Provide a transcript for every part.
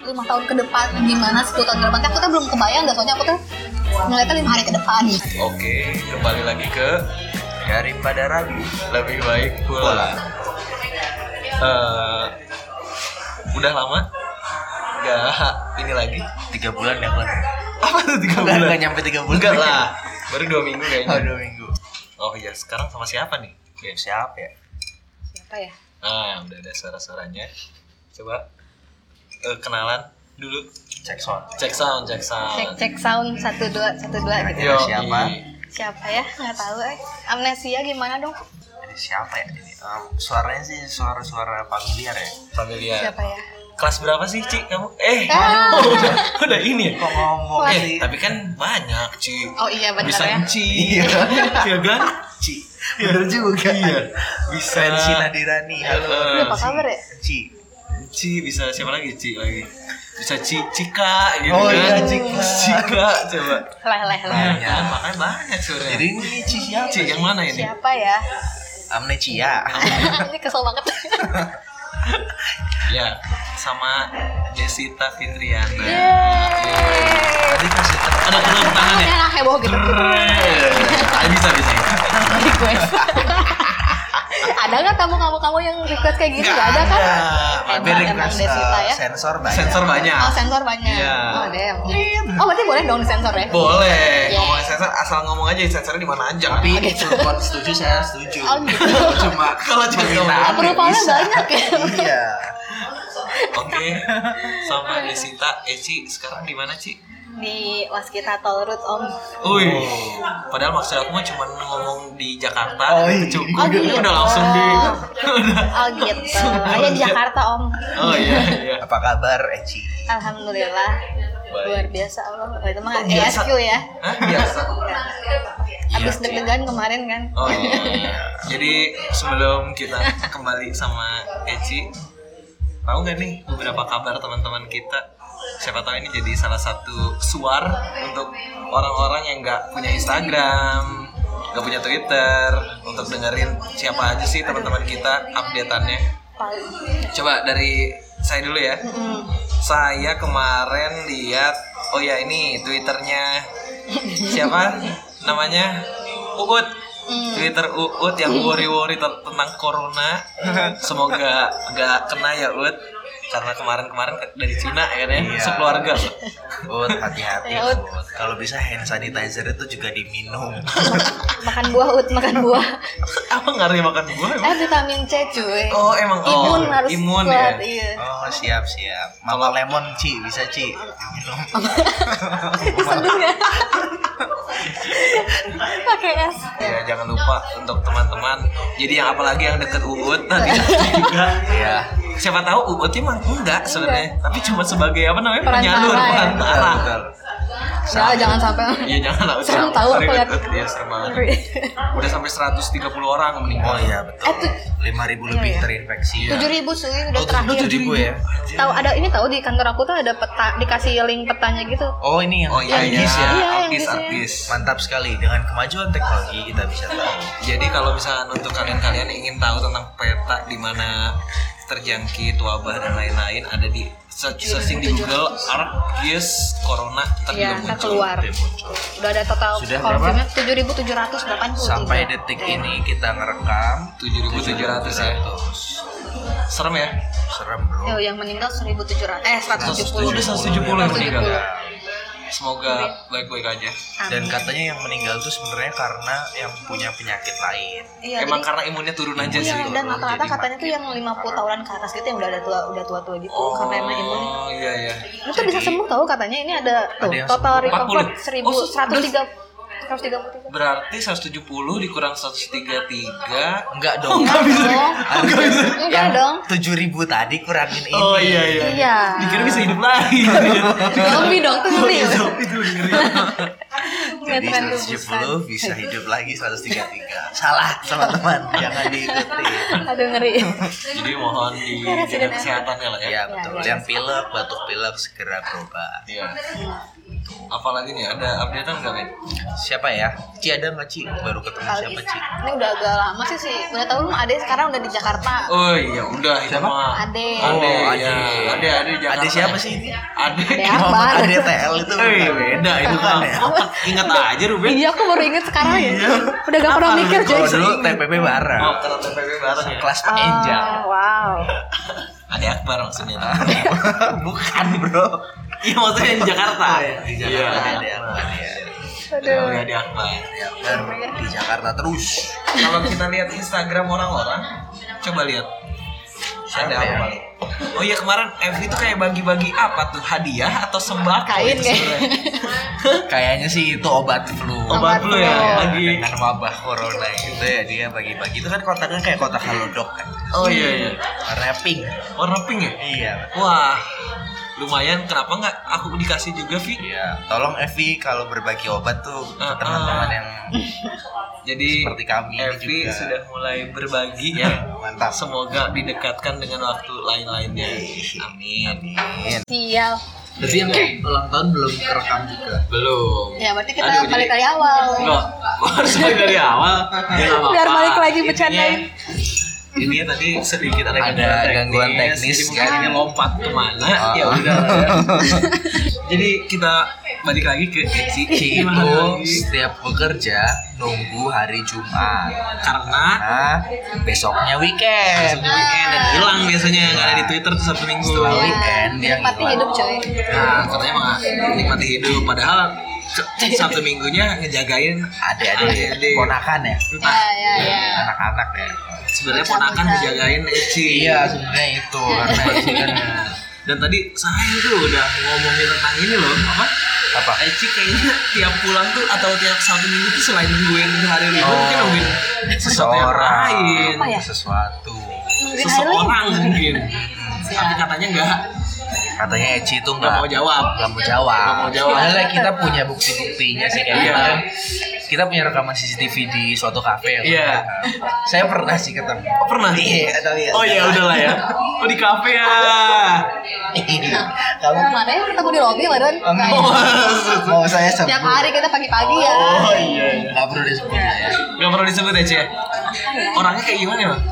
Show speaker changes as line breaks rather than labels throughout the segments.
lima tahun ke depan gimana sepuluh tahun ke depan aku tuh belum kebayang gak soalnya aku tuh ngeliatnya lima hari ke depan
Oke, kembali lagi ke daripada ragu lebih baik pulang. Eh, udah lama nggak ini lagi
tiga bulan ya bulan
apa tuh tiga
Enggak,
bulan?
enggak nyampe tiga bulan.
Enggak lah, baru dua minggu
oh
kayaknya.
dua minggu
Oh iya, sekarang sama siapa nih? Oke.
siapa ya
siapa ya
Nah, udah ada suara-suaranya. Coba eh, kenalan dulu.
cek soal
Cek sound, cek sound.
cek cek sound satu dua satu dua gitu
Yo.
Yoi.
Siapa?
siapa ya nggak tahu eh amnesia gimana dong
jadi siapa ya ini Em, suaranya sih suara-suara familiar ya
Familiar.
siapa ya
Kelas berapa sih, Ci? Kamu? Eh,
Ah.
oh, udah, udah ini ya?
kok ngomong
Wah.
Eh,
sih
tapi kan banyak, Ci.
oh iya benar
Bisa
ya
Ci.
Iya.
Iya kan?
Ci bener juga
Iya.
bisa Ci Nadirani halo
Eh,
Udah, eh. apa kabar ya
Ci
Ci bisa siapa lagi Ci lagi? Bisa Ci Cika gitu kan.
Oh iya, Cika.
Cika coba.
leh leh leh
Banyak.
Kan, makanya banyak sebenarnya.
jadi ini Ci siapa
Ci yang mana ini?
siapa ya
amnesia
ini kesel banget
Ya, sama Desita Fitriana.
Iya. Yeay.
tadi kasih tepuk
Ada tepuk tangan ya?
Udah, heboh gitu
Keren. Ah, bisa bisa.
request ada nggak tamu kamu kamu yang request kayak gitu nggak ada kan
Tapi
Emang-
request,
emang Desita
eh,
ya?
sensor banyak
Sensor banyak.
oh sensor banyak
Iya.
oh damn oh berarti boleh dong sensor ya
Boleh.
Yes.
Ngomongin sensor asal ngomong aja sensornya di mana aja.
tapi
Oh, gitu.
support setuju saya setuju
Oh, gitu.
cuma
Kalau cuma
permintaan
Penumpangnya
bisa.
banyak ya?
iya
oke. Sama Desita Eci sekarang di mana, Ci?
di waskita tol route om Oh,
Wih, padahal maksud aku mah cuma ngomong di Jakarta,
Oh, iya.
itu
Oh,
cukup.
gitu.
Udah langsung di. Udah.
oh gitu aja di Jakarta om
Oh iya, iya.
apa kabar eh, Eci
alhamdulillah
Baik.
luar biasa Allah itu mah
Luar biasa. Iya.
ESQ ya
Hah? Biasa.
habis deg-degan kemarin kan
Oh iya. iya. Jadi sebelum kita kembali sama Eci, tahu nggak nih beberapa kabar teman-teman kita? Siapa tahu ini jadi salah satu suar untuk orang-orang yang nggak punya Instagram, nggak punya Twitter, untuk dengerin siapa aja sih teman-teman kita updateannya.
paling
Coba dari saya dulu ya.
Mm.
Saya kemarin lihat, oh ya ini twitternya siapa namanya Uut.
Hmm.
Twitter Uut yang worry-worry ter- tentang corona. Semoga nggak kena ya Uut. Karena kemarin-kemarin ke- dari Cina ya kan ya,
Iya.
sekeluarga.
Ut hati-hati
Ya, Ut.
Ut. kalau bisa hand sanitizer itu juga diminum
makan buah ut makan buah
Apa ngaruh makan buah? emang?
eh vitamin C cuy
Oh emang oh,
imun harus
imun
kuat
ya.
iya
oh siap siap mama lemon Ci bisa Ci minum
diseduh ya pakai es
Ya jangan lupa untuk teman-teman. Jadi yang apalagi yang deket Uut nanti
Iya.
juga
ya
siapa tahu UUT mah enggak sebenarnya tapi cuma sebagai apa namanya
Perantara
penyalur
ya.
perantara
Iya, betul
Nggak, Nah, jangan sampai
Iya jangan lah
Serem
usah.
tahu
Sorry,
aku ya. lihat.
UUT, Iya serem banget. Udah sampai 130 orang meninggal
oh iya betul
Eh, tuh.
lima ribu lebih
Iya, iya.
terinfeksi
tujuh ribu sih udah
Oh,
terakhir
tujuh ribu ya
tahu ada ini tahu di kantor aku tuh ada peta dikasih link petanya gitu
oh ini yang
Oh iya iya,
Gis ya
Iya, yang
artis
Gis ya.
artis.
mantap sekali dengan kemajuan teknologi kita bisa
Oh,
tahu
Jadi kalau misalkan untuk kalian-kalian yang ingin tahu tentang peta di mana terjangkit wabah dan lain-lain ada di
Iya,
search- searching di Google Argis Corona ntar juga
Iya, ntar
muncul.
keluar.
Dia muncul.
Udah ada total
Sudah
konfirmnya tujuh ribu tujuh ratus delapan puluh. Iya.
sampai detik ini kita ngerekam
7.700 ya.
7.700.
Serem ya?
serem bro
Yo, yang meninggal seribu tujuh ratus eh seratus tujuh puluh.
Oh, udah 170 yang
170.
meninggal.
Iya,
Semoga baik-baik aja.
dan katanya yang meninggal tuh sebenarnya karena yang punya penyakit lain
Iya,
Emang
jadi-
karena imunnya turun aja
Imunnya
sih.
Iya, dan
turun,
rata-rata
jadi
katanya tuh yang 50 tahunan ke atas gitu yang udah ada tua udah tua-tua gitu karena emang imun.
Oh iya iya.
Itu tuh bisa sembuh tahu katanya ini ada tuh
Ada yang
total
sembuh.
recover 1100
40. Oh,
130 133.
Berarti 170 dikurang 133
enggak dong
Enggak bisa.
dong.
Enggak bisa.
Oh, Enggak dong.
tujuh ribu tadi kurangin ini
Oh iya iya.
Iya.
Dikira bisa hidup lagi. Iya,
Zombie dong tuh ngeri.
Itu lebih ngeri.
Nggak
jadi
terlalu
170 bisa hidup lagi 133 salah teman-teman jangan diikuti
besar. Aduh ngeri.
Jadi mohon
Iya,
dijaga
Iya.
kesehatannya lah ya.
ya betul
ya.
yang pilek batuk pilek segera berobat
Iya. Apalagi nih ada updatean nggak men?
Siapa ya? Ci ada nggak Ci? Baru ketemu
Kali
siapa Ci?
ini udah agak lama sih sih. Udah tahu belum Ade sekarang udah di Jakarta.
Oh iya udah itu
Siapa?
mah.
Ade.
Ade,
Oh,
ya.
Ade.
Ade, Ade, Jakarta.
Ada siapa sih ini?
Ade.
Ade apa?
Muhammad ADTL itu.
Eh beda itu
Bukan
kan.
ya?
Ingat aja Ruben.
Iya, aku baru inget sekarang ya. Udah gak pernah mikir
iya. Kalau
jadi.
dulu TPP bareng.
Oh, karena TPP bareng ya.
Kelas Pak Enja.
Ah, wow.
Ade Akbar maksudnya.
Bukan bro.
Iya maksudnya di Jakarta.
Di
Iya.
Jakarta ada Akbar ya.
Aduh.
Ade- Ade Akbar.
Ada Akbar di Jakarta terus.
Kalau kita lihat Instagram orang-orang, coba lihat.
Siapa
ada apa
ya?
paling? Oh iya kemarin Evi itu kayak bagi-bagi apa tuh hadiah atau sembako
Kain
itu
kayak.
sebenarnya?
Kayaknya sih itu obat flu.
Obat
Obat
lu ya
flu.
lagi.
dengan kan wabah corona gitu ya dia bagi-bagi itu kan kotaknya kayak kotak halodoc kan
Oh iya iya.
warnanya pink
Warna pink ya?
iya
Wah, lumayan. Kenapa nggak aku dikasih juga Vi?
iya tolong Evi kalau berbagi obat tuh ke
Ah,
teman-teman
ah.
yang
Jadi
Seperti kami ini
Evi
juga.
sudah mulai berbagi ya.
mantap
Semoga didekatkan dengan waktu lain-lainnya. Iya, Amin.
Amin.
Sial.
Berarti yang ulang tahun belum kerekam juga.
Belum.
Ya berarti kita
Aduh,
balik
jadi-
dari awal.
Enggak, harus mulai dari awal. Ya, nggak apa-apa.
Biar balik lagi
Intinya-
bercandain.
Intinya tadi sedikit ada,
Ada gangguan
jadi
teknis,
mungkin
kan?
ini lompat kemana? Ya
Oh.
udah. ya. Jadi kita balik lagi ke Eci.
Ci
Gimana
itu
lagi?
setiap bekerja nunggu hari Jumat.
karena
Nah, besoknya weekend.
sebelum weekend dan hilang biasanya nggak ada di Twitter tuh satu minggu.
Setelah
Ya,
weekend dia
Nikmati
ngilang.
hidup coy.
Nah, katanya mah nikmati hidup padahal satu minggunya ngejagain
Adik-adik
Adik-adik.
ponakan ya,
Ya ya ya.
anak-anak ya.
iya.
sebenarnya ponakan ngejagain Eci.
Iya, sebenarnya itu karena Eci kan
Dan tadi saya tuh udah ngomongin tentang ini loh, apa?
apa?
Eci kayaknya tiap pulang tuh atau tiap satu minggu tuh selain nungguin hari libur
Oh.
mungkin nungguin sesuatu yang
Seseorang,
lain,
Apa ya?
sesuatu.
Nungguin highlight.
seseorang mungkin. Tapi katanya nggak
Katanya Eci itu
nggak mau
nggak
jawab.
nggak mau jawab.
Nggak mau jawab.
Padahal kita punya bukti-buktinya sih kayak
Iya.
kemarin kita punya rekaman CCTV di suatu kafe. ya,
Iya.
Saya pernah sih ketemu.
Oh, pernah?
Iya, tapi
Oh ya udahlah ya. Oh di kafe ya.
Kamu
Nah, Mana ya ketemu di lobby, Madon?
Oh, mau saya sebut.
iya. Tiap hari kita pagi-pagi ya.
Oh iya. Enggak perlu disebut lah ya.
Gak perlu disebut Eci ya. Orangnya kayak gimana ya? Bang?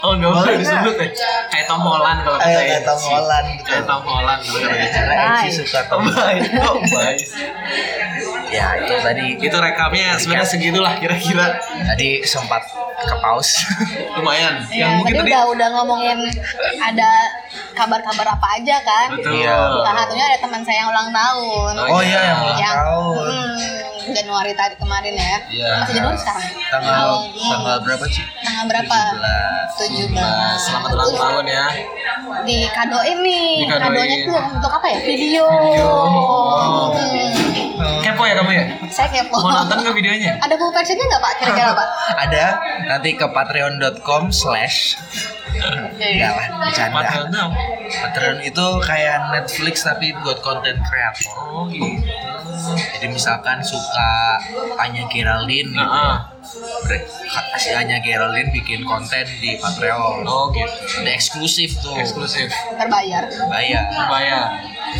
Oh nggak perlu
Orangnya-
disebut ya. Kayak Tom Holland kalau kata
Ayo kayak
Eci.
Tom Holland
Kayak Tom Holland. bener
Iya.
ya.
Karena Eci
Bye.
Oh,
suka Tom Holland.
baik. Oh, baik.
Ya itu tadi
Itu rekamnya sebenarnya segitulah kira-kira.
tadi sempat ke pause.
Lumayan.
Ya,
Yang mungkin
tadi
tadi
udah udah ngomongin ada kabar-kabar apa aja kan.
Betul.
Iya.
Salah satunya ada teman saya yang ulang tahun.
Oh,
Oh iya yang ulang
yang
tahun.
hmm, Januari tadi kemarin ya.
Iya.
Masih Januari sekarang.
Tanggal
Oh, hmm.
tanggal berapa sih?
Tanggal berapa? 17.
17.
Nah, selamat ulang tahun ya.
Di kado ini.
Dikadoin.
Kadonya tuh untuk apa ya? Video. Hmm.
Kepo ya kamu ya?
Saya kepo.
Mau nonton ke videonya?
Ada full versionnya nggak Pak? Kira-kira Pak?
Ada nanti ke patreon.com slash enggak lah
Empat
bercanda.
enam.
Patreon itu kayak Netflix tapi buat konten kreator.
Oh gitu.
Jadi misalkan suka Anya Geraldine gitu.
Nah, ah.
Bre- si Anya Geraldine bikin konten di Patreon.
oh gitu.
Udah eksklusif tuh.
Eksklusif.
Berbayar.
Bayar
Bayar.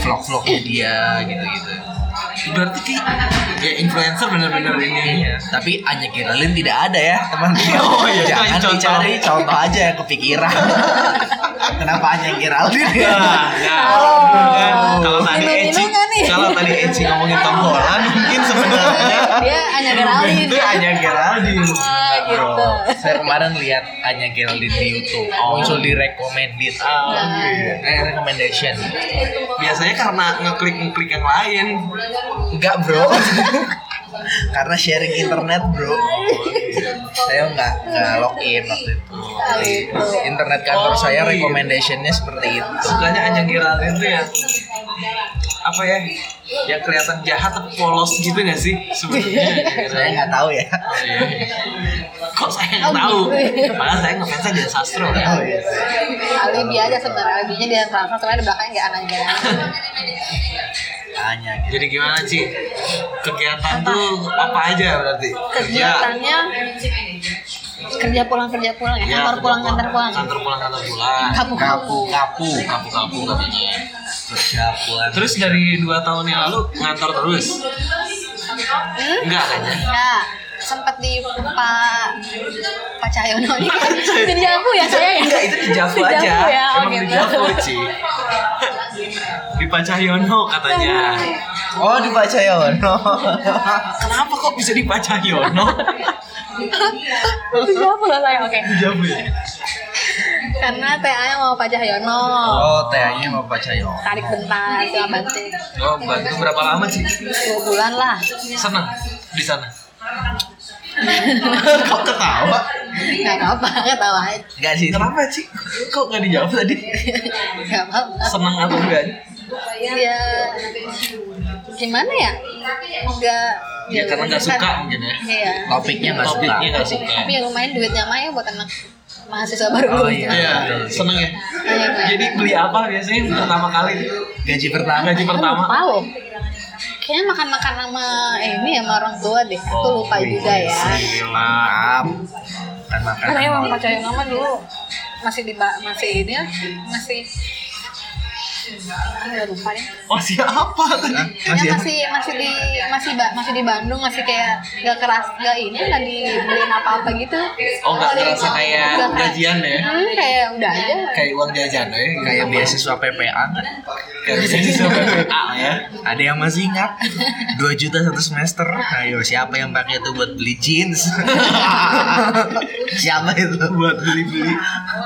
vlog-vlognya dia gitu-gitu.
Berarti ki, ya influencer bener-bener ini.
Iya.
Tapi Anya Geraldine tidak ada ya, teman-teman.
Oh, iya.
Jangan
Cari contoh.
dicari contoh aja yang kepikiran. Kenapa Anya Geraldine ya?
Nah, nah, kan, kalau
Oh.
tadi
Minum-minum
Eci,
nggak nih?
kalau tadi Eci ngomongin Tom Holland, mungkin sebenarnya
Dia hanya Iya, Geraldine.
itu hanya Geraldine.
Ah,
Iya,
gitu.
Oh, Saya kemarin lihat Anya Geraldine di YouTube,
Oh.
muncul di recommended.
Ah,
Eh, recommendation.
biasanya karena ngeklik ngeklik yang lain.
Enggak, Bro. Karena sharing internet, Bro. Saya enggak enggak login waktu itu. Jadi, internet kantor
Oh,
saya
gitu.
recommendation-nya seperti itu.
Sukanya hanya Geraldine tuh ya apa ya yang kelihatan jahat tapi polos gitu gak sih sebenarnya
Saya nggak tahu ya.
Oh, iya. kok saya nggak
Oh,
tahu
gitu.
padahal saya ngefansnya dia sastro ya
iya.
Alibi aja sebenarnya. Alibinya dia transfer sebenarnya di belakangnya nggak anak Geraldine.
Tanya gitu.
Jadi gimana Ci? Kegiatan tuh apa aja berarti?
Kegiatannya kerja pulang kerja pulang ya,
Iya,
kantor
kerja
pulang ya? kantor pulang.
Kantor pulang kantor pulang.
Kapu kapu.
Kapu, kapu.
Kapu-kapu katanya.
gitu, persiapan
Terus dari dua tahun yang lalu ngantor terus? Enggak kayaknya.
Nah, sempat Hmm? di Pak Pak Cahyono ini. Jadi aku ya saya ya.
Enggak, itu di Javu
Di
aja.
Javu ya, oh
Emang di
gitu.
Javu, Ci. Di Pak Cahyono katanya.
oh di Pak Cahyono
Kenapa kok bisa di Pak Cahyono?
Di Javu lah saya. Oke.
Di Javu ya?
Karena TA-nya mau Pak Cahyono.
oh TA nya mau Pak Cahyono
Tarik bentar sama bantu.
Oh, bantu berapa lama, Ci?
Dua bulan lah.
Senang di sana.
kok ketawa
Gak apa-apa, ketawa aja.
Enggak sih
Kenapa, Ci? Kok nggak dijawab tadi?
Gak apa-apa.
Senang atau enggak?
Ya, gimana ya? Enggak.
Ya, karena
kan?
nggak suka mungkin ya.
Iya.
topiknya nggak suka
Topiknya nggak suka.
Tapi yang lumayan duitnya mah ya buat anak mahasiswa baru.
Oh,
lulus.
iya.
Iya, seneng ya.
Iya,
Jadi beli apa biasanya pertama kali?
gaji pertama
Gaji pertama.
Lupa loh. Kayaknya makan-makan sama eh, ini ya sama orang tua deh. Aku
Oh,
lupa
iya,
juga ya.
Mantap. Kan makan
Karena emang Pak Cahyo nama dulu masih di ba- masih ini ya, masih nggak lupa ya. deh.
Oh siapa tadi?
Masih, masih
ya?
masih di masih ba- masih di Bandung masih kayak nggak keras nggak ini nggak dibeliin apa apa gitu.
Oh nggak ngerasa kayak
Nggak kayak-
gajian ya?
Hmm, kayak udah aja.
Kayak uang jajan ya? gitu.
kayak beasiswa PPA kan?
Kayak bisa disuruh PA
Iya.
ya?
ada yang masih ingat 2 juta satu semester ayo siapa yang pakai itu buat beli jeans siapa itu
Buat beli-beli.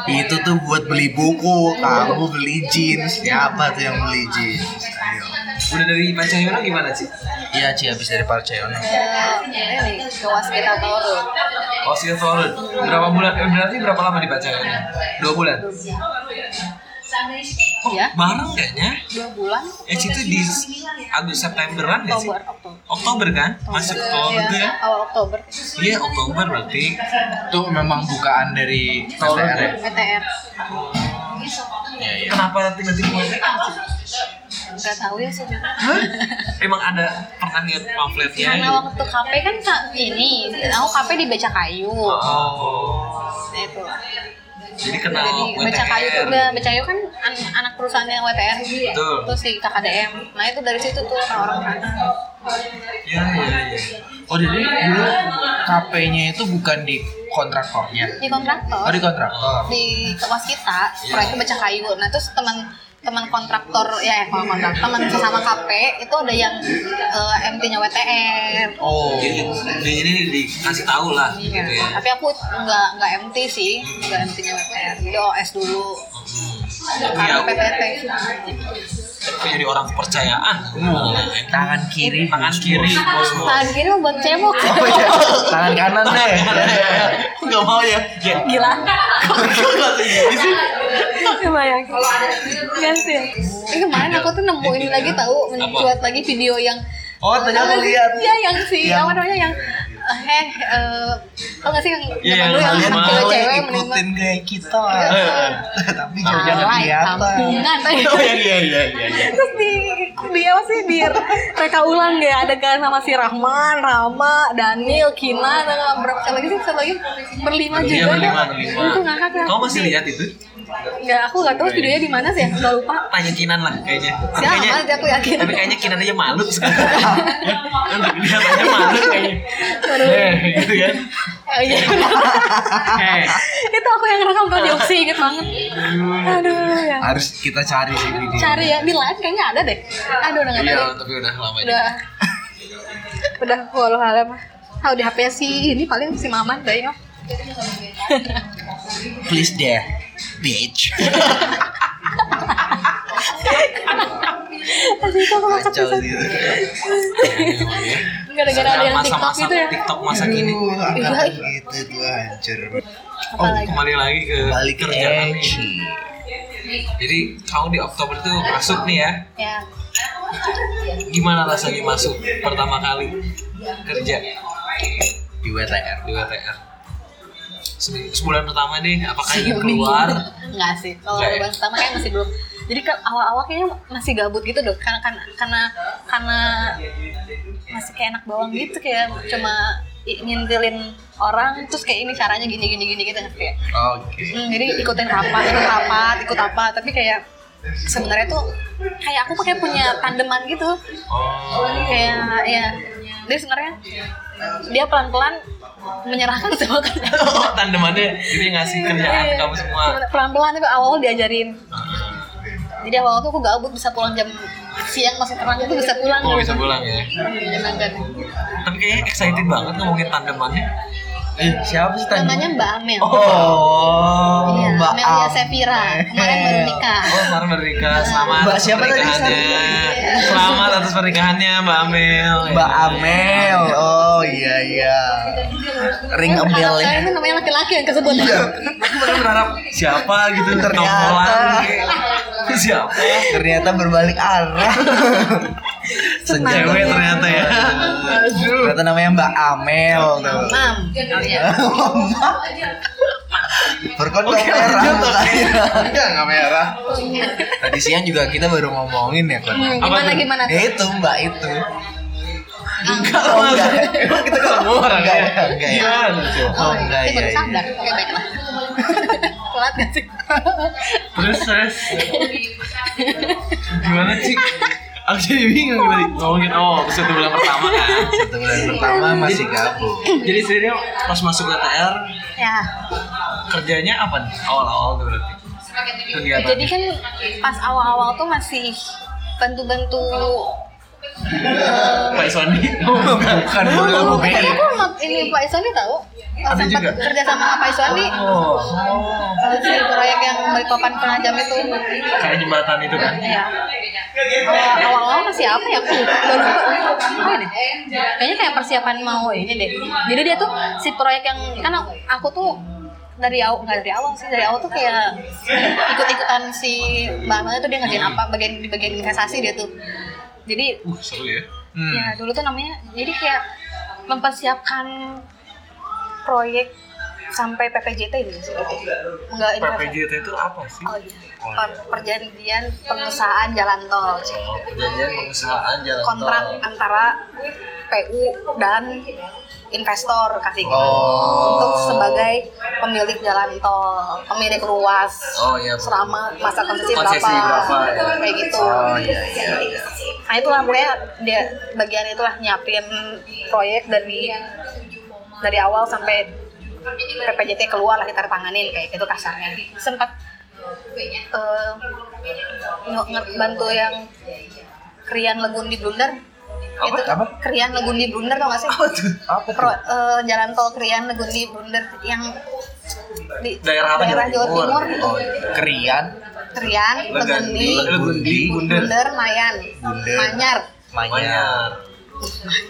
itu tuh buat beli buku kamu beli jeans siapa tuh yang beli jeans ayo
Udah dari Pancahyono gimana sih?
iya Ci habis dari Parceono
Ya, ini ke waskita Tauro.
Oh Silver Road. Berapa bulan? eh, Berarti berapa lama di Pancahyono? Dua bulan. Oh.
Iya,
Bareng kayaknya.
dua bulan.
Eh itu di Agustus Septemberan nggak sih?
Oktober, Oktober.
Oktober kan? Masuk Oktober
Iya,
tuh ya?
awal Oktober.
Iya Oktober berarti.
itu memang bukaan dari
Tahun
PTR ya?
PTR.
Iya, iya.
Kenapa tiba-tiba?
Gak tahu ya sih juga.
Emang ada pernah lihat pamfletnya?
Karena
gitu?
waktu KP kan Kak, ini, aku KP di Beca Kayu.
Oh.
Nah, Itu.
Jadi kenal
Oh,
Jadi Beca Kayu tuh udah Beca Kayu kan an- anak perusahaannya WTR.
Betul.
Itu gitu ya. si KKDM. Nah, itu dari situ tuh orang-orang kan. sana.
Ya, ya, ya. Oh, jadi dulu
KP-nya itu bukan di kontraktornya
Di
oh
kontraktor.
di Iya. kontraktor
di kelas kita proyeknya baca kayu nah terus teman teman kontraktor ya kalau kontraktor teman sesama KP itu ada yang eh, MT-nya WTR
oh
jadi di ini dikasih tahu lah gitu
Iya.
ya.
tapi aku nggak nggak MT sih nggak MT-nya WTR jadi OS dulu
Iya,
karena PPT
jadi orang kepercayaan.
tangan kiri
Tangan kiri, bos bos.
tangan kiri buat cebok
Oh, iya. tangan kanan iya, deh
Gak mau ya? Ya,
Iya. gila
gak segini sih.
kebayang nggak Iya, sih Eh, kemarin aku tuh nemuin lagi tahu mencuat lagi video yang
oh tadi aku lihat
Iya yang si
Yang-
apa namanya yang eh eh tau gak sih yang
Iya,
zaman dulu yang
yang kalian
anak
mau
cewek-cewek
ikutin
menimbang
kayak kita Iya.
Eh,
tapi
Alay,
jangan kelihatan
kampungan eh.
Oh, iya, iya, iya, iya, iya.
terus di di apa sih di mereka ulang ya ada kan sama si Rahman, Rama, Daniel, Kina, ada nggak berapa kali lagi sih satu lagi berlima juga
Iya,
ya.
berlima, berlima.
itu ngakak ya
Kamu masih lihat itu?
nggak aku nggak tahu videonya di mana sih ya nggak lupa
Tanya Kinan lah kayaknya. Tapi
Siapa?
kayaknya-
Nanti aku ya? yakin.
Tapi kayaknya Kinan aja malu sekarang. Ya, Dia aja malu kayaknya. Eh, gitu kan.
Oh, iya.
Eh.
itu aku yang rekam tuh di Oksi inget banget aduh ya
harus kita cari sih video
cari ya di lain kayaknya ada deh aduh udah nggak tahu deh.
Iya, tapi udah lama juga.
udah udah walau hal apa ah di HP si ini paling si Maman deh oh.
please deh bitch
Asli itu aku masak
kacau
pisang.
gitu
Gara-gara ada yang TikTok
Masa-masa
gitu ya.
TikTok masa kini.
Aduh,
Iya.
angkatan gitu tuh hancur
Oh,
Apalagi.
kembali lagi ke
balik ke
kerjaan nih.
Eci
Jadi kamu di Oktober tuh masuk nih ya.
Ya.
Gimana rasanya masuk pertama kali kerja
di WTR
di WTR? Se- Sebulan pertama deh, apakah ingin keluar?
Enggak sih. Kalau
Nggak ya?
bulan pertama kayak masih belum. Jadi kan awal-awal kayaknya masih gabut gitu dong. Karena karena karena, karena masih kayak enak bawang gitu kayak cuma i- ngintilin orang terus kayak ini caranya gini gini gini gitu kayak
oke
Hmm, jadi ikutin rapat, ikut rapat, ikut apa, tapi kayak sebenarnya tuh kayak aku kayak punya tandeman gitu
Oh,
kayak ya dia sebenarnya dia pelan-pelan menyerahkan semua kerjaan
oh tandemannya jadi ngasih
Iya.
kerjaan ke kamu semua
pelan-pelan tapi awal diajarin jadi awal tuh aku gabut bisa pulang jam siang masih terang itu bisa pulang
oh bisa pulang ya
Menyenangkan.
tapi kayaknya excited banget ngomongin tandemannya
Eh, siapa sih tadi?
namanya Mbak Amel
Oh,
Iya,
Mbak
Amelia
Am.
Sevira kemarin baru nikah
Oh, kemarin bernikah. Selamat
Mbak
atas
siapa tadi?
pernikahannya.
Sorry.
Selamat atas pernikahannya, Mbak Amel.
Mbak Amel. Oh, iya iya. Ring a bell
Karakternya
ya.
itu namanya laki-laki yang kesebut
Iya.
Aku baru berharap siapa gitu
Ternyata.
nongkolan. Siapa?
Ternyata berbalik arah. Senja
Cewek ternyata ya.
Ternyata namanya Mbak Amel tuh.
Mam Iya.
Berkondom
Oke,
merah.
lanjut, Iya,
Enggak, enggak merah. Tadi siang juga kita baru ngomongin ya, Kon.
Hmm, gimana
tuh?
gimana
Ya itu Mbak itu.
Ah,
Oh, enggak.
Emang kita ketemu orang
Enggak,
ya?
enggak ya.
Gimana, Jo?
Oh, enggak
eh, baru
ya.
sadar oke baiklah telat nggak sih
Terus, terus. Gimana sih? Aku jadi bingung tadi ngomongin oh satu bulan pertama kan.
Satu bulan pertama masih
Iya.
gabung.
Jadi sebenarnya pas masuk LTR
ya
kerjanya apa nih? Awal-awal tuh berarti. Kegiatan.
jadi kan pas awal-awal tuh masih bantu-bantu
Pak Sony. Bukan.
Dulu
Oh,
lagu BI.
kan aku sama ini Pak Iswandi tahu
Iya
Ada
sempat
juga?
kerja sama Pak Iswandi
Oh,
eh, si proyek yang Balikpapan penajam itu
kayak jembatan itu kan.
ya awal-awal masih apa ya aku lupa Udah lupa Apa ya deh? kayaknya kayak persiapan mau ini deh jadi dia tuh si proyek yang kan aku- aku tuh dari awal nggak dari awal sih dari awal tuh kayak ikut-ikutan si mbak Amel tuh dia ngerjain apa bagian di bagian investasi dia tuh jadi
Uh, seru ya.
Hmm.
Ya dulu tuh namanya jadi kayak mempersiapkan proyek sampai PPJT gitu. Enggak ini
PPJT itu apa sih?
Oh iya. Per- perjanjian pengesahan jalan tol.
Perjanjian pengusahaan jalan
Kontrak antara PU dan investor kasih
Oh.
untuk sebagai pemilik jalan tol, pemilik ruas
Oh, iya.
selama masa konsesi,
Konsesi berapa, ya.
kayak gitu.
Oh iya iya iya.
Nah itulah pokoknya dia bagian itulah nyiapin proyek dari dari awal sampai PPJT keluar lah kita tanganin kayak gitu kasarnya. Sempat eh, nge- nge- bantu yang Krian Legundi Blunder
Apa? Apa?
Krian Legundi Blunder tau gak sih?
Apa
Pro, eh, jalan tol Krian Legundi Blunder yang di
Daerah apa?
daerah Jawa Timur, gitu.
Oh, Krian,
Krian Legundi
Legundi, Legundi, Bunder,
Blunder Mayan
Bunder.
Manyar
Manyar.
Manyar.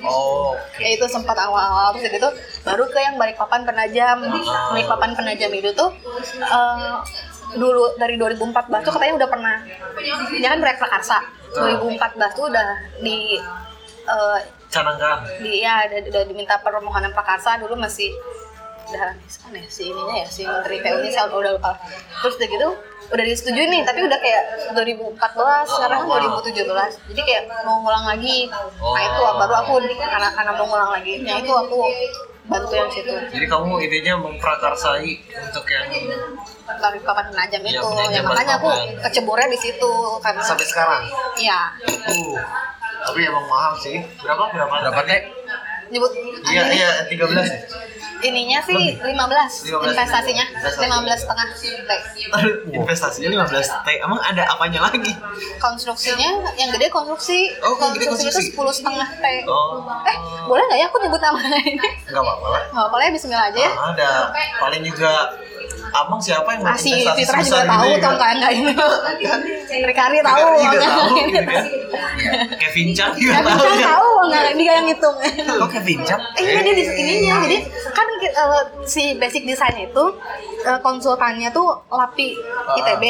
Oh,
ya itu sempat awal-awal terus itu baru ke yang Balikpapan Penajam Balikpapan Penajam itu tuh eh, dulu dari 2014 tuh katanya udah pernah dia kan proyek Prakarsa 2014 tuh udah di eh,
Canangkan.
di ya udah, udah diminta permohonan Prakarsa dulu masih udah kan ya si ininya ya si Menteri PU nya saya udah lupa terus udah gitu udah disetujui nih tapi udah kayak 2014 sekarang kan 2017 jadi kayak mau ngulang lagi nah itu baru aku karena karena mau ngulang lagi nah itu aku bantu yang situ
Jadi kamu idenya memprakarsai untuk yang
dari papan penajam
Iya,
itu ya
penajam
makanya aku
Balikpapan.
keceburnya di situ karena
sampai sekarang.
iya
Uh, tapi emang mahal sih. Berapa berapa?
berapa teh?
nyebut
Iya
ini-
iya 13 ya.
ininya sih 15,
15.
investasinya
15.
15 setengah T.
Investasinya 15 T. Emang ada apanya lagi?
konstruksinya yang gede konstruksi
Oh, yang gede
konstruksinya itu
konstruksi.
sepuluh setengah t
Oh.
eh boleh nggak ya aku nyebut nama ini
Enggak apa-apa lah.
nggak boleh Bismillah aja ya
Ah, ada paling juga abang siapa yang
Ah, si
investasi
Fitra juga
sebesar
tahu
ini,
tong
kan?
kayak nggak ini Rikari tahu nggak
Fitri juga tahu
tahu
gitu kan Kevin Chang juga
Kevin
tahu
Chan
ya
tahu nggak dia yang ngitung
kok Kevin Chang
Eh, ini dia di ininya. Jadi kan eh, si basic design itu eh, konsultannya tuh Lapi ITB.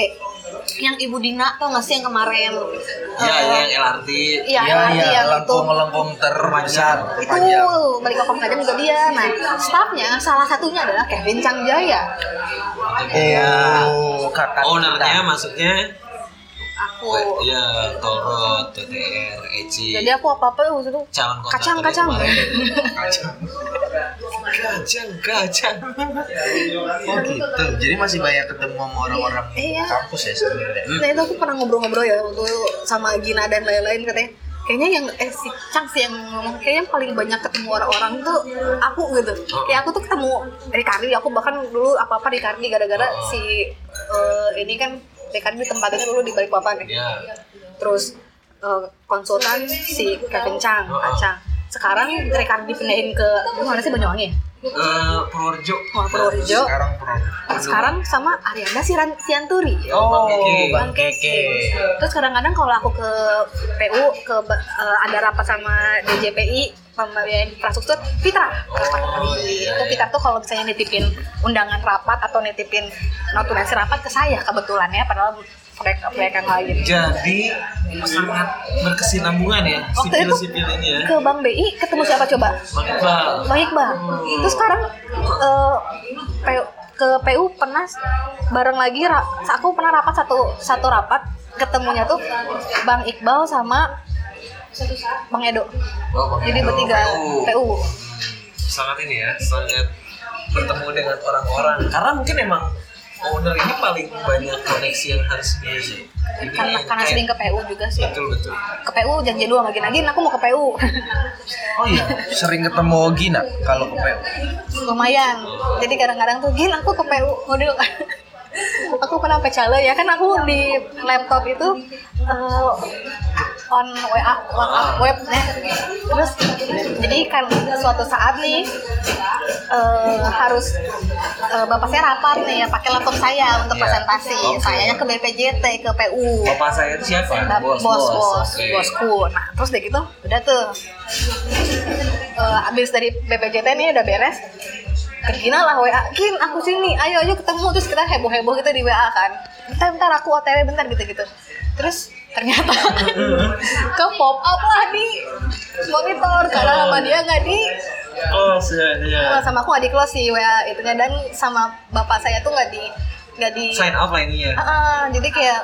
Yang Ibu Dina tau gak sih yang kemarin?
Ah. ya
Eh,
yang LRT
Iya,
Iya
Lapi
iya,
yang itu.
lengkung-lengkung terpanjang,
itu
terpanjang.
balik ke Pangkajam juga dia nah staffnya salah satunya adalah Kevin Chang Jaya
Oh, kakak.
Iya. Oh.
ownernya
kita.
maksudnya
aku
ya Tolrot, TTR,
Oh.
Eci,
jadi aku apa apa waktu itu
E calon kontraktor
kacang
yang
kacang
iya. kemarin.
Kacau.
Kacang, kacang.
Oh gitu. Jadi masih banyak ketemu sama orang-orang
Iya.
kampus ya sebenarnya.
nah itu aku pernah ngobrol-ngobrol ya waktu itu sama Gina dan lain-lain katanya kayaknya yang eh si Chang sih yang ngomong kayaknya yang paling banyak ketemu orang-orang tuh aku gitu kayak aku tuh ketemu Ricardi aku bahkan dulu apa apa Ricardi gara-gara si eh, ini kan Ricardi tempatannya dulu di Balikpapan ya
Ya,
terus eh, konsultan si Kevin Chang kacang sekarang Ricardi dipindahin ke mana sih Banyuwangi ya?
Eh, Purworejo.
Wah, Oh, Purworejo.
Sekarang Oh, pro.
sekarang sama Ariana Siran- Sianturi
Oh,
Bang Keke. Terus kadang-kadang kalau aku ke PU ke ba- eh, ada rapat sama DJPI pembiayaan infrastruktur Fitra rapat
Oh, iya,
itu Fitra tuh kalau misalnya nitipin undangan rapat atau nitipin noturasi rapat ke saya kebetulan ya padahal proyek-proyek yang lain
Jadi sangat berkesinambungan ya
Waktu itu-
sipil-sipil ini ya.
ke Bank BI ketemu siapa coba
Bang Iqbal.
Bang Iqbal. Terus sekarang eh, PU ke PU pernah bareng lagi ra- aku pernah rapat satu satu rapat ketemunya tuh Bang Iqbal sama Bang Edo.
Oh, Bang
Jadi
Iqbal.
bertiga PU.
Sangat ini ya, sangat bertemu dengan orang-orang. Karena mungkin emang owner ini paling banyak koneksi yang harus di di-
Iya Karena karena
kayak-
sering ke PU juga sih.
betul betul.
Ke PU janji dua lagi lagi aku mau ke PU.
Oh iya. Sering ketemu Gina kalau ke PU.
Lumayan. Jadi kadang-kadang tuh gin aku ke PU. Waduh. aku pernah pecale ya kan aku di laptop itu eh, on WA, WA web eh. terus jadi kan suatu saat nih eh, harus eh, bapak saya rapat nih ya pakai laptop saya untuk presentasi
Oke.
sayanya ke BPJT ke PU
Bapak saya itu siapa?
Nah, bos bos bos
oke.
bosku nah terus dari gitu udah tuh Eh, abis dari BPJT nih udah beres ke Gina lah WA Gin aku sini ayo ayo ketemu terus kita heboh heboh gitu di WA kan bentar bentar aku OTW bentar gitu gitu terus ternyata ke pop up lah di monitor karena sama dia nggak di
Oh, saya,
eh,
saya.
sama aku nggak di close si WA itunya dan sama bapak saya tuh nggak di nggak di
Sign up lainnya.
Ah, jadi kayak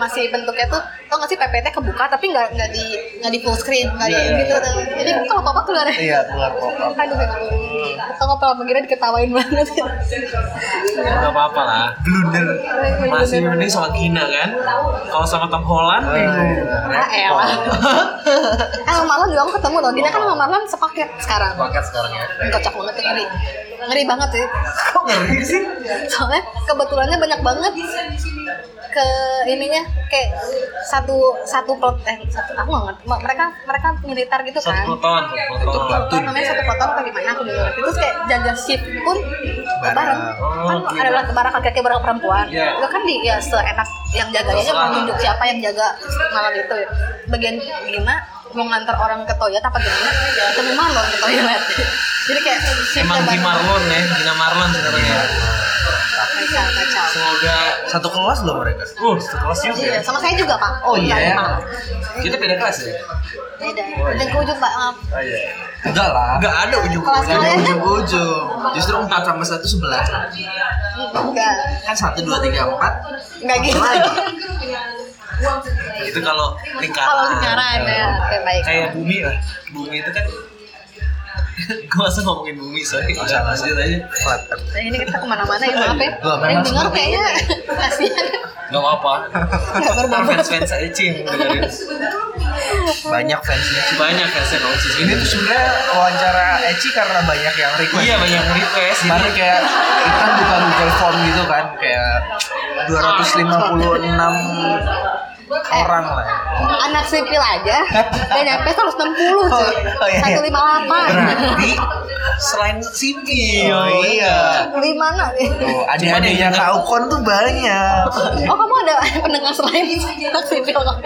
masih bentuknya tuh tau gak sih PPT kebuka tapi nggak nggak di nggak di full screen nggak di
Iya, iya,
gitu tuh. Jadi kalau papa keluar ya.
Iya, keluar pop-up.
Aduh, gitu. Atau nggak pernah mengira diketawain banget.
Gak apa-apa lah. Blunder. Masih mending sama Gina kan? Kalau sama Tom Holland, bingung.
Iya.
Ah, elah. Eh, sama Marlon juga aku ketemu loh. Gina kan sama Marlon sepaket sekarang.
Paket sekarang ya.
Kocak banget tuh ngeri. Ngeri banget sih.
Kok ngeri sih?
Soalnya kebetulannya banyak banget ke ininya kayak satu satu plot eh satu aku nggak ngerti mereka mereka militer gitu
Satu
kan
peleton. Satu
Itu
peleton.
pelatun.
namanya satu kota atau gimana aku juga nggak ngerti terus kayak jaga shift pun bareng
Oh,
kan
gila.
ada barang kaki-kaki barang perempuan
Iya.
itu kan di ya seenak yang jaganya aja
Terserah.
menunjuk siapa yang jaga malam itu ya. bagian Gina mau ngantar orang ke toilet apa gimana Ya, ketemu Marlon ke toilet jadi kayak shiftnya
Emang di
bareng.
Marlon ya, Gina Marlon sekarang
Iya.
ya.
kacau kacau
Semoga
Satu kelas loh mereka.
Uh, satu kelas juga
Iya,
ya.
sama saya juga pak
Oh, iya.
Kita beda kelas ya?
beda dan ke ujung pak maaf.
Oh iya. Enggak lah.
Enggak ada ujung
Kelas
Enggak ada
kalian kan
ujung-ujung. Justru 4 sama 1 sebelah.
enggak
Kan 1 2 3 4.
enggak gitu
Itu kalau lingkaran.
kalau lingkaran ya oke baik
Kayak bumi lah. Bumi itu kan Gue masa ngomongin bumi, sorry
Oh, salah,
Lanjut aja
Flat earth.
Nah, ini kita kemana-mana ya maaf ya.
Loh, memang
Yang dengar
seperti
kayaknya kasihan.
Gak apa-apa
Nggak berbobot.
Fans-fans aja Ci, yang dengerin
Banyak fansnya.
Banyak fansnya kalau Ci
Ini tuh sebenarnya wawancara Eci karena banyak yang request.
Iya banyak request
Baru kayak kita buka Google Form gitu kan kayak 256 orang lah. ya.
Anak sipil aja. Dan nyampe 160 cuy.
Oh, iya, iya.
158.
Berarti
Selain sipil
Oh, iya.
Di mana nih?
tuh adik-adiknya
Cuman yang- iya.
Kak Ukon tuh banyak.
Oh, kamu ada pendengar selain anak sipil kamu?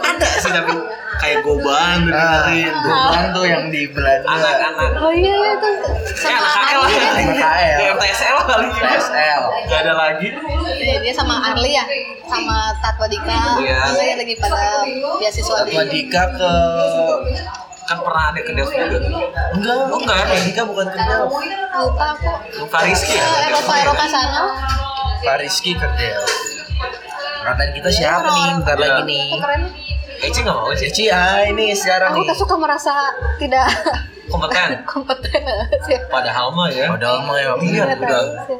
Ada
iya.
sih tapi Kayak goban
Nah,
dengerin
bukan tuh yang di Belanda.
Anak-anak
Oh iya, iya, itu
Eh,
sama
KL
Arli
lah.
kan?
KL.
Ya, FTSL kali ini.
PSL.
Gak ada lagi.
Iya, dia sama Arli ya, sama Tatwa Dika.
Iya.
Saya lagi pada beasiswa di
Fatwa Dika ke
Kan pernah ada ke Dev juga.
enggak,
Oh, enggak.
Fatwa Dika bukan ke Del.
lupa aku.
Lupa Rizky ya.
Eh, Eropa Eropa sana.
Pak Rizky ke Del. Ngatain kita siapa nih bentar
Iya.
lagi nih.
Keren.
Eci nggak Eh, mau sih, Eci
Cici ya ini sekarang
Aku
nih.
tuh suka merasa tidak
kompeten.
kompeten kan, sih.
Padahal mah ya,
Padahal mah ya.
Iya,
Nggak tahu
udah.
sih.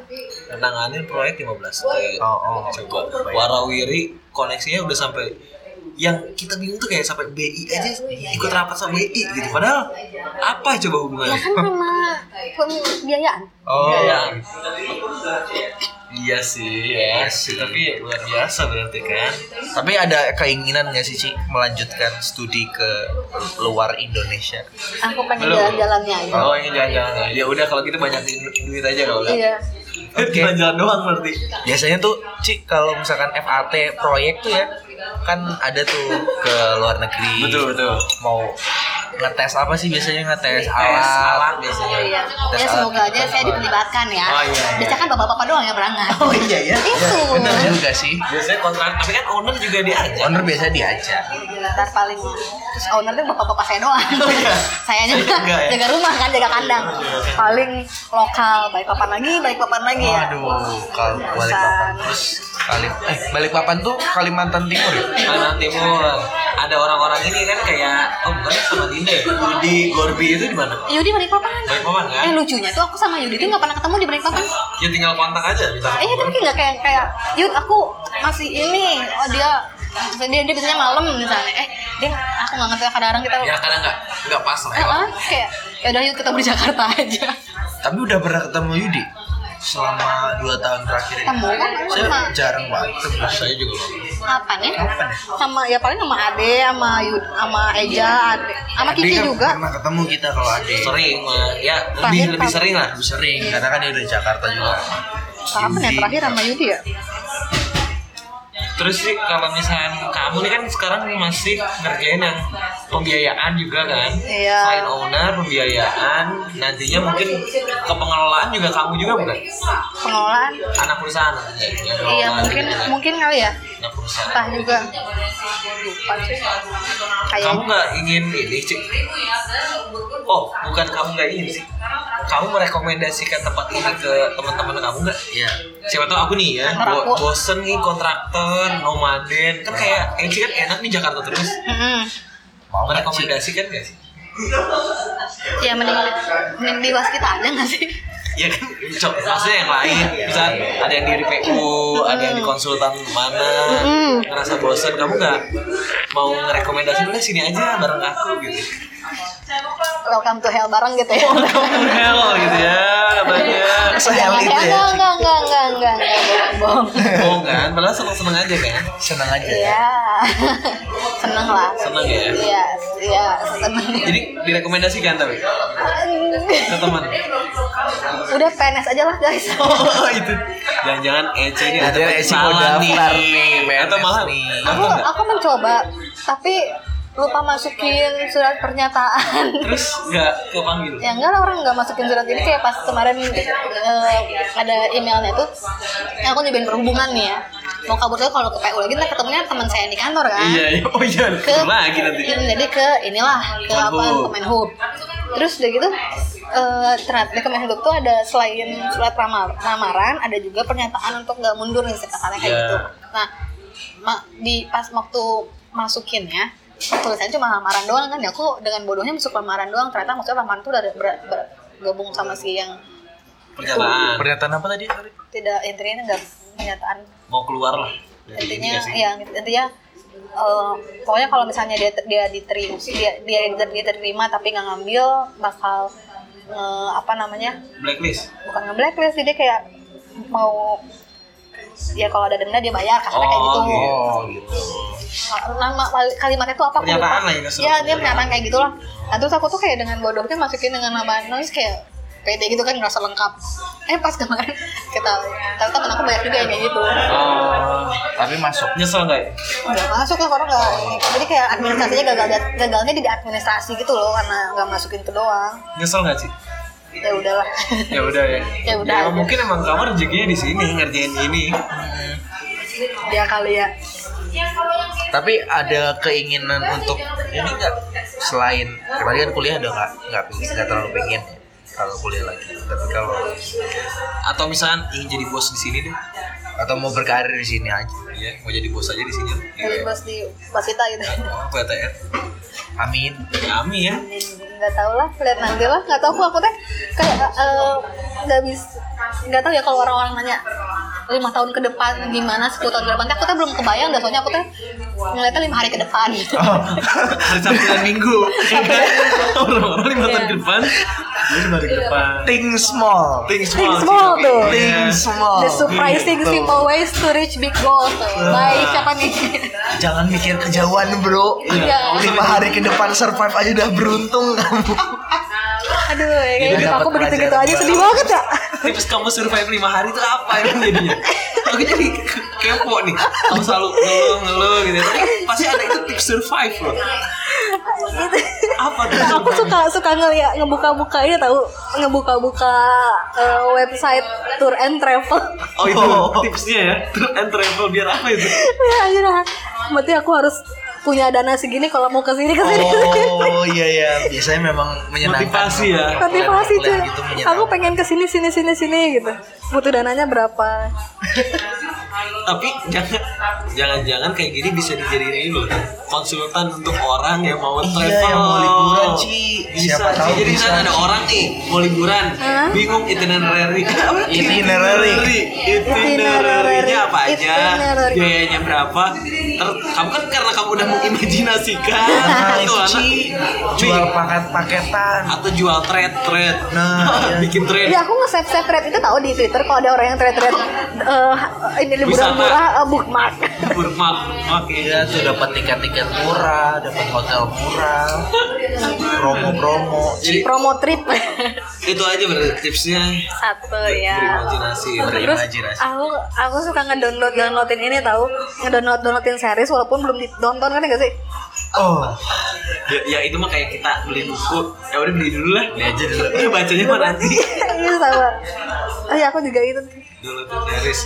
menanganin proyek 15 T.
Oh, oh.
Coba Warawiri koneksinya udah sampai yang kita bingung tuh kayak sampai BI aja ikut rapat sama BI gitu. Padahal apa coba
Ya
hubungannya?
kan karena pembiayaan.
Oh.
Iya. Iya sih, ya. Tapi luar biasa berarti kan.
Tapi ada keinginan nggak sih Ci melanjutkan studi ke luar Indonesia?
Aku pengen
Belum.
jalan-jalannya aja.
Oh, ini jangan-jangan. Ya udah kalau gitu banyakin duit aja kalau udah.
Iya.
Oke.
Jalan-jalan doang berarti.
Biasanya tuh Ci kalau misalkan FAT proyek tuh ya kan ada tuh ke luar negeri.
Betul, betul.
Mau ngetes apa sih biasanya ngetes alat,
Tes alat biasanya.
Tes
Ya
alat
semoga
gitu.
aja saya diperlibatkan ya.
Oh, iya, iya.
Biasanya kan bapak-bapak doang yang berangkat.
Oh iya ya.
Itu.
Benar juga sih.
Biasanya kontrak, tapi kan owner juga diajak.
Owner biasa diajak.
Ntar paling terus ownernya bapak-bapak saya doang.
iya.
Saya aja
Enggak ya?
jaga rumah kan, jaga kandang.
Iya,
Paling lokal, baik papan lagi, baik papan lagi ya.
Waduh, kalau balik papan terus kali eh balik papan tuh Kalimantan Timur ya?
Kanan timur ada orang-orang ini kan kayak oh bukan sama Dinda ya Budi Gorbi itu di mana?
Yudi balik papan.
Baik paman kan?
Eh lucunya tuh aku sama Yudi tuh nggak pernah ketemu di break papan.
Ya tinggal kontak aja bisa.
Eh tapi nggak kayak kayak Yud aku masih ini oh dia dia dia biasanya malam misalnya eh dia aku nggak ngerti kadang-kadang kita
Ya kadang nggak nggak pas lah.
eh ah, kayak ya udah Yud kita di Jakarta aja
Tapi udah pernah ketemu Yudi selama 2 tahun terakhir ini.
Ketemu kan
Saya
sama
jarang banget ketemu.
Saya juga belum.
apa nih sama ya paling sama Ade sama Yud sama Eja Ade sama Kiki
Dia kan
juga
Pernah ketemu kita kalau Ade.
Sering eh, ya lebih
Terakhir
lebih
pas-
sering lah.
Lebih sering karena kan dia udah di Jakarta juga.
kapan ya
Yudi.
terakhir sama Yudi ya
Terus sih kalau misalkan kamu nih kan sekarang masih ngerjain yang pembiayaan juga kan?
Iya.
Sign owner, pembiayaan, nantinya mungkin ke pengelolaan juga kamu juga bukan?
pengelolaan
Anak perusahaan. nantinya, ya,
iya
pengelolaan
mungkin
gitu kan.
mungkin kali ya
Anak perusahaan.
entah juga lupa sih
kamu
kayak
nggak ingin ini sih oh bukan kamu nggak ingin sih kamu merekomendasikan tempat ini ke teman-teman kamu nggak
Iya.
siapa tahu aku nih ya
Kantor
bo-
aku.
bosen nih kontraktor nomaden kan kayak Eci kan enak nih Jakarta terus
Mm-mm.
Mau nggak Ci?
merekomendasikan nggak sih
ya mending mending di was kita aja nggak sih
ya kan Iya, coba maksudnya yang lain bisa ada yang di PU ada yang di konsultan mana
Mm-mm.
ngerasa bosen kamu nggak mau ngerekomendasi udah sini aja bareng aku gitu
welcome to hell bareng gitu ya
hell gitu ya gitu banyak
Se-hell
Jangan-
itu ya.
gitu enggak, enggak, enggak, enggak, enggak, enggak, enggak, bohong.
bohong kan malah seneng seneng aja kan
Senang aja. ya.
Iya, seneng lah.
seneng ya
Iya, iya, seneng.
jadi direkomendasikan tapi ke teman
Udah PNS aja lah guys.
oh itu jangan-jangan Ece ini ada
Jangan-jangan Ece mau
salah
daftar
nih
nih,
atau malah
nih.
Aku,
atau enggak
aku mencoba, tapi lupa masukin surat pernyataan.
terus nggak kepanggil
ya enggak lah orang nggak masukin surat ini kayak pas kemarin eh, ada emailnya tuh yang aku nyobain perhubungan nih ya mau kabur tuh kalau ke PU lagi ntar ketemunya teman saya di kantor kan
iya iya oh iya
ke
lagi nanti
iya, jadi ke inilah ke apa
Kemenhub.
ke Menhub terus udah gitu eh ternyata di Kemenhub tuh ada selain surat ramar- lamaran ada juga pernyataan untuk nggak mundur nih kasarnya kayak
Iya.
gitu nah ma- di pas waktu masukinnya tulisannya cuma lamaran doang kan ya aku dengan bodohnya masuk lamaran doang ternyata maksudnya lamaran tuh udah ber- ber- gabung sama si yang Iya.
pernyataan
Pernyataan apa tadi? sorry?
tidak intinya nggak pernyataan
mau keluar lah dari ini
intinya
nggak Iya sih?
ya intinya eh, pokoknya kalau misalnya dia dia diterima dia dia, dia diterima tapi nggak ngambil bakal eh, apa namanya
blacklist
bukan nge blacklist dia kayak mau ya kalau ada denda dia bayar kasarnya kayak gitu
Oh, iya.
Oh gitu.
nama kalimatnya tuh apa aku lupa.
Pernyataan lah ya, keseluruhan.
ya dia pernyataan kayak gitulah nah terus aku tuh kayak dengan bodohnya masukin dengan nama noise kayak pede gitu kan ngerasa lengkap eh pas kemarin kita ternyata temen aku banyak juga yang kayak gitu
oh
Tapi masuk.
nyesel nggak ya
nggak masuk ya orang nggak jadi kayak administrasinya gagal gagalnya di administrasi gitu loh karena nggak masukin itu doang
nyesel nggak sih
ya udahlah
ya udah ya
Ya udah aja.
mungkin emang kamu rezekinya di sini ngerjain ini
ya kali ya
Tapi ada keinginan untuk ini enggak selain kemarin kan kuliah udah nggak nggak pengen- nggak terlalu pengen ya, kalau kuliah lagi. Tapi kalau
atau misalkan ingin jadi bos di sini deh
atau mau berkarir di sini aja.
Iya, mau jadi bos aja di sini. Iya. ya,
dari bos di Pasita gitu
PTR.
Amin.
Kami ya.
nggak tahu lah lihat nanti lah nggak tahu aku aku teh kayak eh, nggak bisa nggak tahu ya kalau orang-orang nanya lima tahun ke depan gimana sepuluh tahun ke depan teh aku teh belum kebayang dah soalnya aku teh ngeliatnya lima hari ke depan gitu
Hari Sabtu dan Minggu. Iya kan? Orang-orang lima tahun
Iya.
ke depan. Gue lima hari ke depan.
Think small.
Think small.
Think small
sih,
tuh.
tapi. Iya.
Think small.
the surprising
Iya. gitu.
simple ways to reach big goals tuh. baik siapa nih
Jangan mikir kejauhan bro.
Iya.
Lima hari ke depan survive aja udah beruntung kamu.
aduh ya, kayaknya hidup
dapat
aku begitu gitu
pelajaran
aja
baru.
sedih banget ya
Tips kamu survive lima hari itu apa emang jadinya? Aku jadi ke- kepo nih. Kamu selalu ngeluh ngeluh gitu. Tapi pasti ada itu tips survive loh. Apa tuh?
Nah, aku suka suka ngeliat ngebuka-buka ini tahu ngebuka-buka eh, website tour and travel
Oh itu
Oh.
tipsnya ya. Tour and travel biar apa itu?
ya aja dah. Berarti aku harus punya dana segini kalau mau kesini kesini.
Oh iya iya. Biasanya memang
nah,
menyenangkan.
Motivasi
kan.
ya.
Motivasi cuy.
Plan-plan gitu menyenangkan.
Aku pengen kesini sini sini sini gitu. Butuh dananya berapa?
Tapi jangan jangan-jangan kayak gini bisa dijadiin ini loh. Konsultan untuk orang yang mau
Iya,
travel.
yang mau liburan, Ci.
Bisa,
Siapa
Ci.
tahu
Jadi
bisa,
kan ada
Ci.
orang nih mau liburan,
Hah?
bingung itinerary. Apa?
Itinerary.
Itinerary-nya apa aja?
Itinerary.
Biayanya berapa? Ter- kamu kan karena kamu udah mengimajinasikan
Nah, itu
tuh anak.
Ci.
Nih,
Jual paket-paketan.
atau jual thread-thread.
Nah, iya.
bikin thread.
Ya aku nge-save save thread itu tahu di Twitter kalau ada orang yang thread thread eh, ini liburan
Wisata.
murah eh, bookmark.
Burmak, mak
Iya tuh dapat tiket-tiket murah, dapat hotel murah, promo-promo.
Jadi
Promo trip
itu aja berarti tipsnya
satu ya.
berimajinasi
Terus
Berimajinasi.
aku aku suka ngedownload downloadin ini tahu ngedownload downloadin series walaupun belum ditonton kan gak sih?
Oh,
ya, ya itu mah kayak kita beli buku ya udah beli dulu lah
Beli aja dulu.
Ya, bacanya mah nanti
Iya sama. Oh ya aku juga itu.
downloaded series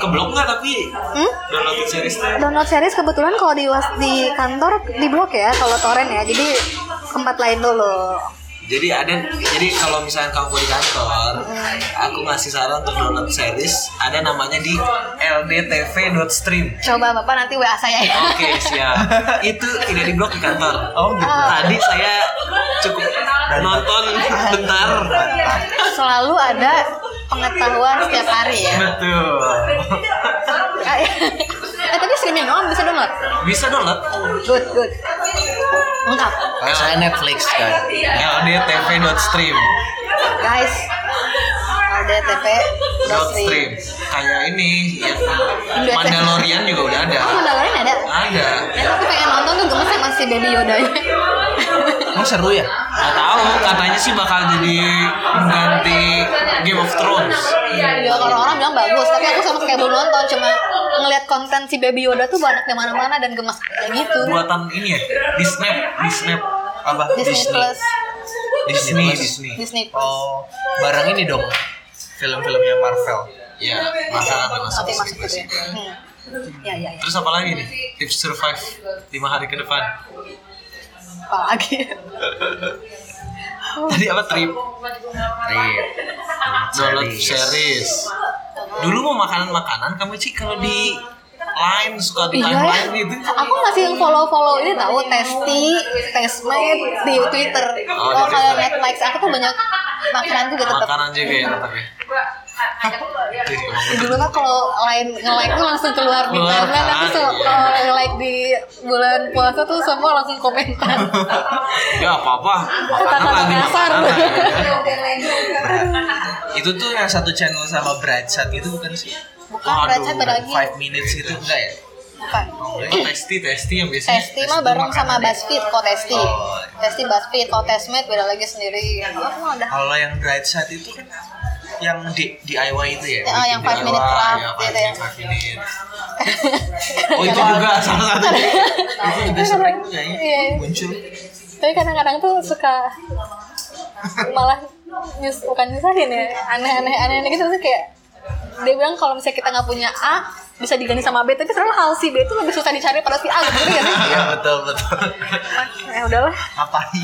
keblok nggak tapi
Hmm?
downloaded series teh
Download series kebetulan kalau di was- di kantor di blok ya kalau torrent ya. Jadi tempat lain dulu.
jadi ada jadi kalau misalnya kamu di kantor aku ngasih saran untuk download series ada namanya di ldtv.stream
Coba Bapak nanti WA saya ya.
Oke siap. Itu tidak di blok di kantor.
Oh, gitu.
Tadi saya cukup nonton bentar.
Selalu ada pengetahuan setiap hari ya.
Betul.
eh tapi streaming doang bisa download.
Bisa download
Good good. Lengkap.
kalau saya Netflix kan.
ldtv.stream
Guys. LDTP
dot stream kayak ini yang
Udah.
Mandalorian juga udah ada
Oh, Mandalorian ada.
ada
Eh, aku pengen nonton tuh gemes sama si Baby Yoda ya.
Emang seru ya?
nggak tahu katanya sih bakal jadi mengganti Game of Thrones
Ya, orang-orang bilang bagus, tapi aku sama sekali belum nonton, cuma ngelihat konten si Baby Yoda tuh banyak di mana-mana dan gemes aja gitu.
buatan ini ya di snap di snap
Apa?
Disney, Plus,
Disney
Disney.
Disney
Disney Plus.
Oh, barang ini dong. Film-filmnya Marvel.
ya masalah ada masuk
Oke, masuk
Disney Plus
gitu ya. Hmm. Ya, ya, ya.
terus apa lagi nih tips survive lima hari ke depan
Apa lagi?
tadi apa trip
Trip.
download series dulu mau makanan makanan kamu sih kalau di line suka di
Iya,
timeline gitu
aku masih yang follow-follow ini tahu Testi, Testmate di Twitter.
Oh, di
Oh, kalau
Twitter.
Netflix aku tuh banyak makanan juga tetap.
makanan juga ya tetap ya
dulu kan kalau lain nge-like tuh langsung keluar di
Keluar,
timeline tapi
kan,
so-
iya.
kalau nge-like di bulan puasa tuh semua langsung komentar
ya apa apa makanan
Kata-kata
lagi
kasar.
makanan ya.
Itu tuh yang satu channel sama Brightside itu bukan sih?
bukan
Waduh,
Brad Pitt beda lagi
Five minutes gitu enggak ya?
bukan
testi testi ya. yang biasanya
Testi mah bareng sama Buzzfeed kok Testi
Oh.
Testi Buzzfeed kok Testmate beda lagi sendiri Aku mah
Oh,
udah
Kalau yang Brightside itu kan yang di DIY itu ya?
Oh, yang five
bikin
minute
DIY.
craft
ya
gitu ya.
five minutes oh itu juga salah satu
Itu juga sering
ya.
kayaknya
Iya.
muncul.
Tapi kadang-kadang tuh suka malah nyus bukan nyusahin ya aneh-aneh aneh gitu tuh kayak dia bilang kalau misalnya kita nggak punya A bisa diganti sama B tapi sebenarnya hal si B itu lebih susah dicari pada si A gitu kan
Iya betul betul.
ya udahlah
Ngapain?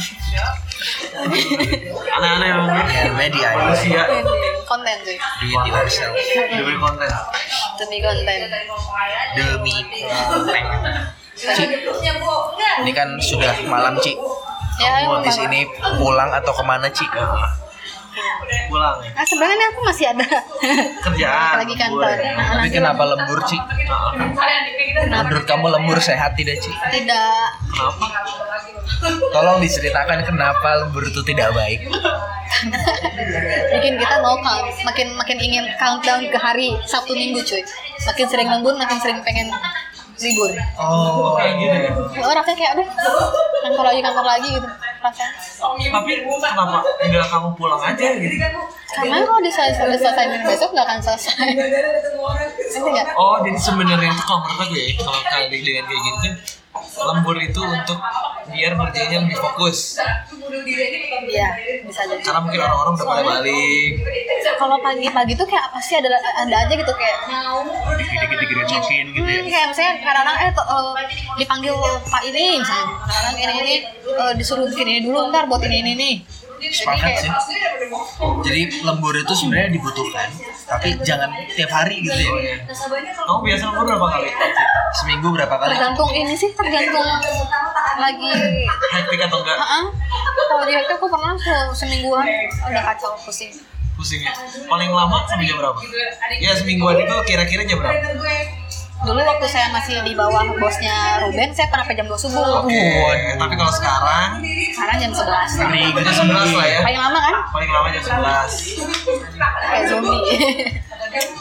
aneh-aneh emang
Ya namanya DIY.
manusia
konten sih
Do it yourself.
diberi konten
demi konten
demi konten. Ci, ini kan sudah malam Ci.
ya
Kamu
emang
di
banget.
sini pulang atau kemana Ci?
pulang ya.
nah sebenarnya nih aku masih ada
kerjaan
lagi kantor
boleh.
Nah,
Tapi
nanti
kenapa lembur Ci?
kenapa
Menurut kamu lembur sehat tidak Ci?
tidak
kenapa
Tolong diceritakan kenapa lembur itu tidak baik.
bikin kita no count makin makin ingin countdown ke hari Sabtu Minggu cuy makin sering lembur makin sering pengen libur
Oh,
kayak gitu ya
oh rasanya kayak aduh kantor lagi kantor lagi gitu rasanya
tapi kenapa nggak kamu pulang aja gitu
karena kalau diselesai selesai besok nggak akan selesai Ngerti nggak
oh jadi sebenarnya itu kalau menurut aku ya kalau kali dengan kayak gitu kan, lembur itu untuk biar kerjanya lebih fokus
iya bisa jadi
karena mungkin orang-orang udah pada balik
kalau pagi-pagi tuh kayak pasti ada ada aja gitu kayak
dikit-dikit direcokin gitu ya.
Hmm, kayak misalnya kadang-kadang eh to- eh, dipanggil Pak ini misalnya kadang-kadang ini ini eh, disuruh bikin ini dulu ntar buat ini ini nih
Sepakat sih. Jadi lembur itu sebenarnya dibutuhkan, tapi jangan tiap hari gitu ya.
kamu biasa lembur berapa kali
Seminggu berapa kali?
tergantung ini sih tergantung lagi
hektik atau enggak
Heeh. kalau di Hektik aku pernah se- semingguan udah kacau pusing
pusingnya ya? paling lama sampai jam berapa ya semingguan itu kira-kira jam berapa
dulu waktu saya masih di bawah bosnya Ruben saya pernah sampai jam 2 subuh
oke tapi kalau sekarang
sekarang jam 11
Nih,
jam 11 lah ya
paling lama kan
paling lama jam 11
kayak zombie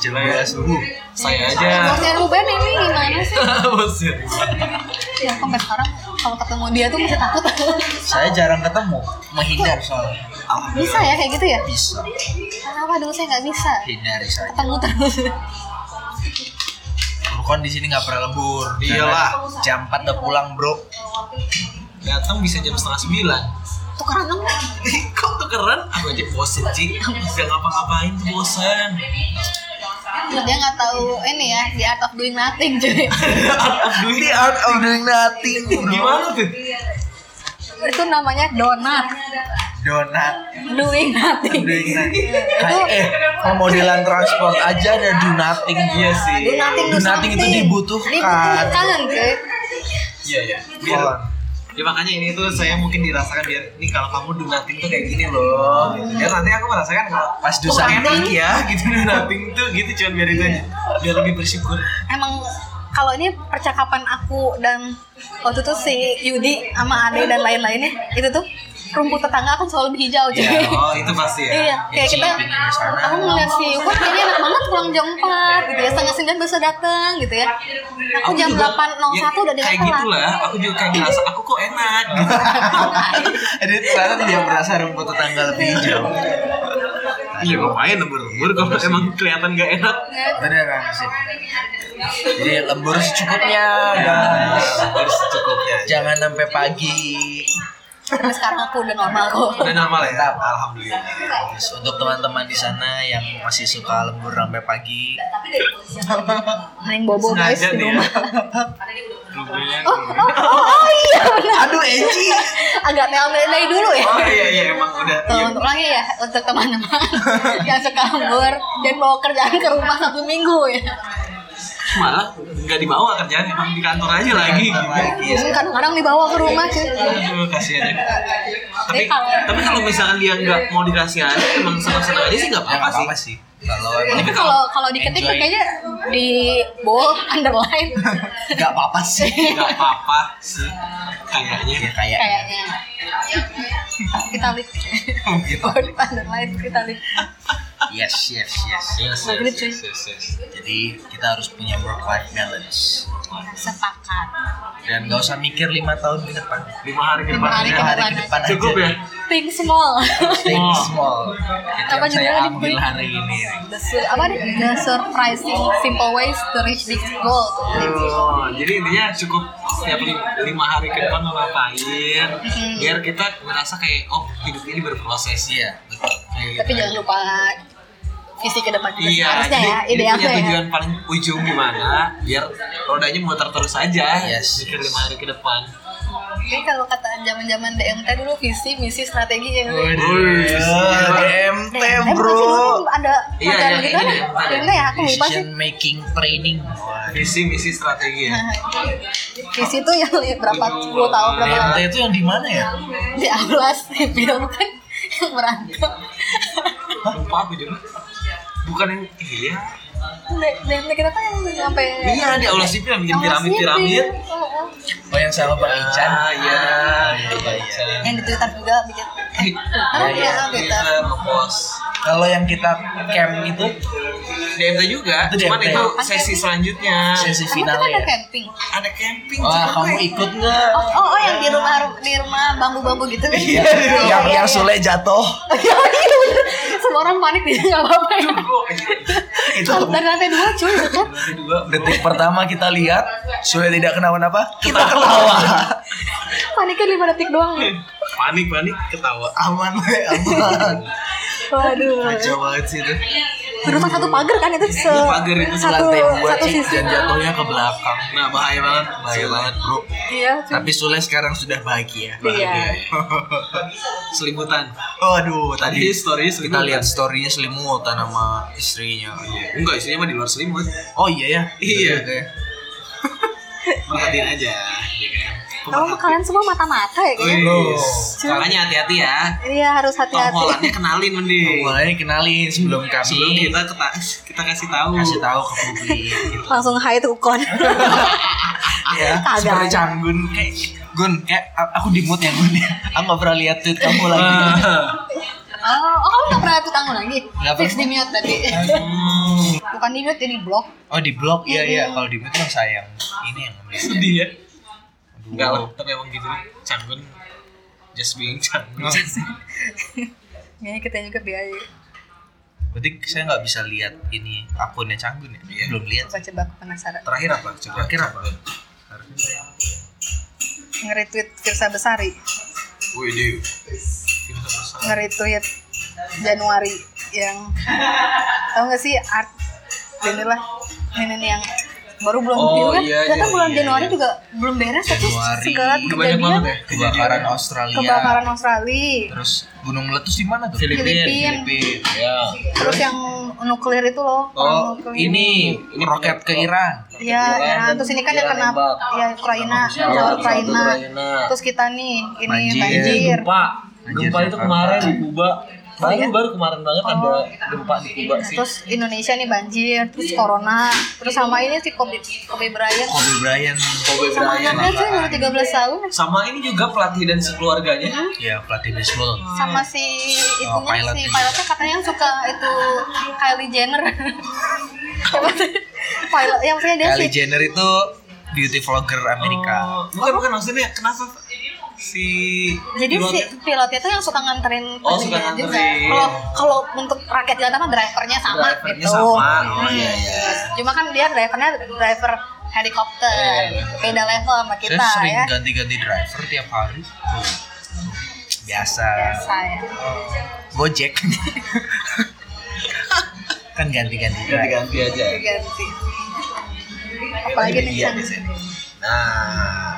jam 12 subuh.
saya aja
bosnya Ruben ini gimana sih
Buset.
ya sampai sekarang kalau ketemu dia tuh masih takut
Saya jarang ketemu, menghindar soalnya.
bisa ya kayak gitu ya
Bisa,
kenapa dulu saya nggak bisa
hindari saya.
ketemu terus
Burkon di sini nggak pernah lembur.
Iyalah.
jam 4 udah pulang bro.
datang bisa jam setengah sembilan
tukeran dong
kok tuh keren aku aja bosen
Iya,
sih nggak ngapa-ngapain tuh bosen
dia nggak tahu ini ya di art of doing nothing cuy
The art of doing nothing bro.
gimana tuh
itu namanya donat
Donat.
doing nothing
Doing nothing. Kayak, eh, modelan transport aja ada do nothing. Iya sih.
do nothing
Do nothing itu
something.
dibutuhkan.
dibutuhkan cuy
iya iya biar ya makanya ini tuh saya mungkin dirasakan biar nih kalau kamu do nothing tuh kayak gini loh gitu. ya nanti aku merasakan kalau
Pas dosa
enak ya gitu do nothing tuh gitu cuman biar itu
Iya.
aja biar lebih bersyukur
emang kalau ini percakapan aku dan waktu itu si Yudi sama Ade dan lain-lainnya itu tuh rumput tetangga akan selalu lebih hijau cuy
Iya.
oh itu pasti ya
Iya, kayak kita aku ngeliat si wah kayaknya enak banget pulang jam 4 gitu ya setengah sembilan bisa datang gitu ya. Aku jam
juga-
8.01
ya,
udah di
kayak
Jakarta.
gitulah aku juga kayak ngerasa aku kok enak gitu.
Jadi ternyata tidak merasa rumput tetangga lebih hijau.
Iya ngapain lembur-lembur kalau
Iya.
emang kelihatan gak enak
Beneran kan sih. Jadi lembur secukupnya,
Iya.
guys.
harus ya. secukupnya
Jangan sampai pagi.
Tapi sekarang aku udah normal kok.
udah normal ya
Iya.
alhamdulillah
Terus untuk teman-teman di sana yang masih suka lembur sampai pagi,
Main bobo guys gitu.
sengaja
di
nih ya
rumah.
Ruben.
Oh, oh, oh, oh, iya. benar.
aduh Eci,
Agak nel dari dulu ya.
oh iya iya emang udah
Tuh, untuk lagi ya untuk teman-teman yang suka lembur dan bawa kerjaan ke rumah satu minggu ya.
malah nggak dibawa kerjaan emang di kantor aja lagi gitu.
lagi
Mungkin kadang-kadang dibawa ke rumah cuy.
Aduh, kasihan ya. Tapi,
Tapi kalau-
tapi kalau misalkan dia nggak mau dikasih aja, emang senang-senang aja sih nggak
ya
apa-apa
nggak
sih.
apa-apa sih. Kalau
Tapi kalau kalau diketik tuh
Enjoy.
kayaknya di bold underline
nggak apa-apa sih,
Nggak apa-apa sih, kayaknya.
ya kayak
kayaknya. Kita lihat
gitu.
bold underline kita lihat.
Yes yes yes.
Yes,
Maghrib, cuy.
yes, yes.
Jadi kita harus punya work life balance
Sepakat.
dan nggak usah mikir lima tahun ke depan.
Lima hari ke depan
hari
ya.
Lima hari ke depan aja.
Cukup ya?
Think small.
Think small. Itu
Apa
yang saya
judulnya di
ambil
kulit?
hari ini.
The, su- apa nih? The surprising simple ways to reach this goal.
Oh, jadi intinya cukup setiap li- lima hari ke depan mau ngapain
Mhm.
biar kita merasa kayak oh hidup ini berproses ya
Iya, betul.
Kayak
Tapi
gitu.
jangan lupa visi ke depan juga.
Iya,
Harusnya
jadi-
ya,
jadi
idealnya
punya
ya.
tujuan paling ujung gimana biar rodanya muter terus aja.
Yes.
Mikir lima hari ke depan.
Jadi kalau kata zaman-zaman DMT dulu visi, misi, strategi ya. Eh,
Wih,
DMT Eh, bro.
Ada
Iya,
ada
iya,
gitu
iya,
kan?
iya, ada.
Ada ya, aku lupa sih.
Decision making training.
Visi misi strategi ya.
Nah, Visi itu yang lihat berapa puluh tahun berapa
DMT itu yang di mana ya?
di Atlas di film kan yang merantau.
Lupa aku juga. Bukan yang iya.
D- DMT kenapa yang sampai
Iya di Allah Sipil yang bikin
Awas
piramid
sipil.
piramid.
Oh, oh.
Oh yang sama Pak Ican.
Ah iya.
iya.
Yang di Twitter juga bikin eh,
Iya,
ah, iya,
iya,
Twitter.
Twitter, ngepost.
Kalau yang kita camp itu
DMT juga,
Itu
cuman
DMT.
itu sesi selanjutnya.
sesi
Kamu kan
finale
ada
ya.
camping.
Ada camping.
Wah
cuman
kamu
gue-
ikut nggak?
Oh, oh, oh, yang di rumah di rumah bambu-bambu gitu kan? Iya,
Iya, yang
iya,
yang
iya.
Sule jatuh
Iya, iya, bener. Semua orang panik dia nggak apa-apa ya.
itu
Kalau Dari lantai dua cuy, ya kan?
Lantai dua,
detik pertama kita lihat Sule tidak kenapa-napa kita ketawa
Paniknya lima detik doang.
panik panik ketawa.
aman we aman
Waduh.
kacau Iya, banget sih itu
Berupa satu pagar kan itu se
pagar itu
satu
lantai dua
satu
sih
sisi.
dan jatuhnya ke belakang
Nah bahaya banget,
bahaya banget bro
Iya. cuy.
tapi Sule sekarang sudah bahagia
Iya.
selimutan.
Waduh
Tadi
tadi
story
kita
selimutan.
lihat storynya selimutan sama istrinya
Enggak, istrinya mah di luar selimut.
oh iya ya
Iya.
Betul ya.
Perhatiin aja. ya kan?
Kamu kalian semua mata-mata ya
Oh, iya.
kayaknya.
Wis. Makanya hati-hati ya.
Iya harus
Tom
hati-hati.
Hollandnya kenalin mending.
mulai kenalin sebelum kami
Iya. Sebelum kita kita kita kasih tahu.
kasih tahu ke publik
Langsung high to kon.
ya
Kagak.
seperti Canggun kayak Gun kayak a- aku di mood ya Gun ya aku gak pernah lihat tweet kamu lagi
Oh, oh, kamu nggak pernah tuh tanggung lagi?
Nggak
Fix
pernah.
di mute tadi.
Hmm,
Bukan di mute, ini blok.
oh di blog iya iya kalau di mood kan sayang ini yang ngemis.
sedih ya.
Aduh.
Enggak lah, tapi emang gitu. Canggun just being
Oh.
canggun.
Ya kita juga biaya.
berarti saya nggak bisa lihat ini akunnya Canggun ya
Iya.
belum lihat
Coba-coba aku penasaran.
Terakhir apa? Coba.
Terakhir apa?
Nge-retweet Firsa Besari.
Wih, dia.
nge-retweet Januari yang tau gak sih art inilah ini nih yang baru bulan
Oh,
juga kan
iya,
ternyata
iya,
bulan
iya,
Januari
iya.
juga belum beres tapi
Januari.
segala
Udah banyak
kejadian
banget ya. Iya.
kebakaran Australia
kebakaran Australia
terus gunung meletus di mana tuh
Filipina.
Filipina
Filipina.
Ya.
terus yang nuklir itu loh
oh
perang nuklir.
ini roket ke Iran
ya
Iya,
Iran terus ini kan yang kena
nembak.
ya Ukraina
Sama Rusia,
sama
sama
Ukraina
Ukraina.
terus kita nih ini
Banjir.
banjir
Eh, Gempa. Gempa
Anjir,
itu
Jakarta.
kemarin di Kuba. Baru
iya?
baru kemarin banget ada gempa di Kuba
Nah,
sih.
terus Indonesia nih banjir terus corona terus sama ini si Kobe Kobe Bryant
Kobe Bryant
Kobe
sama ya,
Bryant.
anaknya tuh baru 13 tahun
Sama ini juga pelatih dan sekeluarganya.
ya pelatih baseball
sama si itunya
Oh, pilot
si
ini.
pilotnya katanya suka itu Kylie Jenner Apa sih? pilot yang maksudnya dia
Kylie
sih
Jenner itu beauty vlogger
Hmm.
Amerika
Oh, bukan bukan maksudnya kenapa si
jadi si
pilotnya
pilotnya tuh yang suka nganterin
Oh, suka
penyediaan juga
nganterin.
kalau kalau untuk rakyat jalan mah drivernya sama
drivernya
gitu
sama. Oh iya
Hmm.
iya.
cuma kan dia drivernya driver helikopter
Iya,
beda level sama kita
Saya sering
ya
ganti-ganti driver tiap hari. Tuh. Biasa.
Iya, saya
Gojek. kan ganti-ganti driver.
Ganti-ganti aja.
ganti apalagi nih
Iya,
Chan?
biasanya. Nah.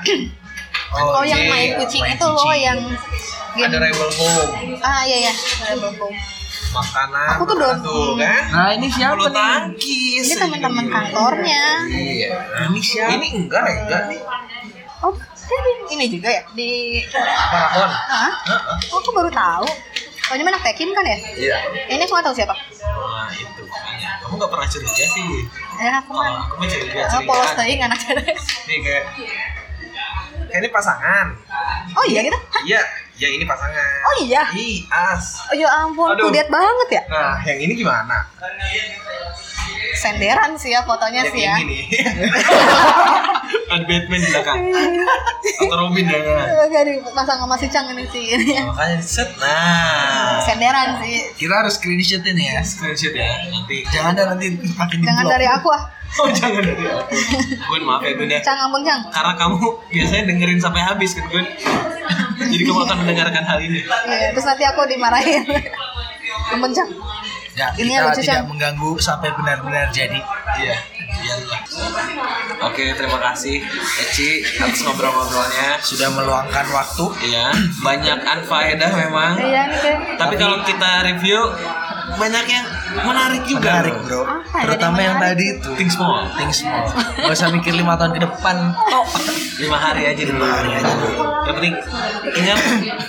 oh yang
iya.
main kucing
main
itu loh
kucing.
yang game
ada Rebel Home Nah,
Ah iya iya, Rebel Home.
makanan
Aku tuh
makanan
doang.
tuh, kan
Nah, ini siapa
bulu
nih?
tangkis
Ini teman-teman kantornya.
iya ini siapa ini enggak enggak nih
Oh, dia di, ini juga ya di
Paragon
Hah? Oh, aku baru tahu. Oh, ini anak Tekin kan ya?
iya
Ini aku nggak tahu siapa.
nah itu makanya kamu nggak pernah curiga sih
Ya, aku
oh,
mah.
aku mah curiga
Ah,
curiga
polos teuing anak
nih kayak kayak ini pasangan
Oh iya gitu? Hah?
iya iya ini pasangan
Oh iya.
Ih, as
Oh ya ampun, aku
Aduh.
lihat banget ya.
nah yang ini gimana
Senderan sih ya fotonya
yang
sih ya.
ini nih ada Batman di belakang atau Robin ya
Iya.
kan
Eh, Jadi pasang sama si Cang ini sih. ini.
Nah, makanya set nah
Senderan sih.
Kita harus screenshotin ya.
screenshot ya nanti
Jangan ada nanti makin
Jangan
di-block.
dari aku ah.
Oh jangan dari aku. Gun maaf ya Gun ya.
Cang ampun Cang.
Karena kamu biasanya dengerin sampai habis kan Gun. Jadi kamu akan mendengarkan hal ini.
Iya, terus nanti aku dimarahin. Ampun Cang.
Nggak,
Ini
Ya, kita
lucu,
tidak
Sam.
mengganggu sampai benar-benar jadi.
Iya, biarlah. Oke, terima kasih Eci atas ngobrol-ngobrolnya.
Sudah meluangkan waktu.
Iya, banyak anfaedah memang.
Iya nih kayak
Tapi kalau kita review banyak yang menarik juga.
Menarik bro.
Apa ya
Terutama
dari
yang
menarik?
tadi itu.
Think small.
Think small. Gak usah mikir lima tahun ke depan. Oh,
Lima hari aja dulu.
hari aja dulu.
Yang penting ingat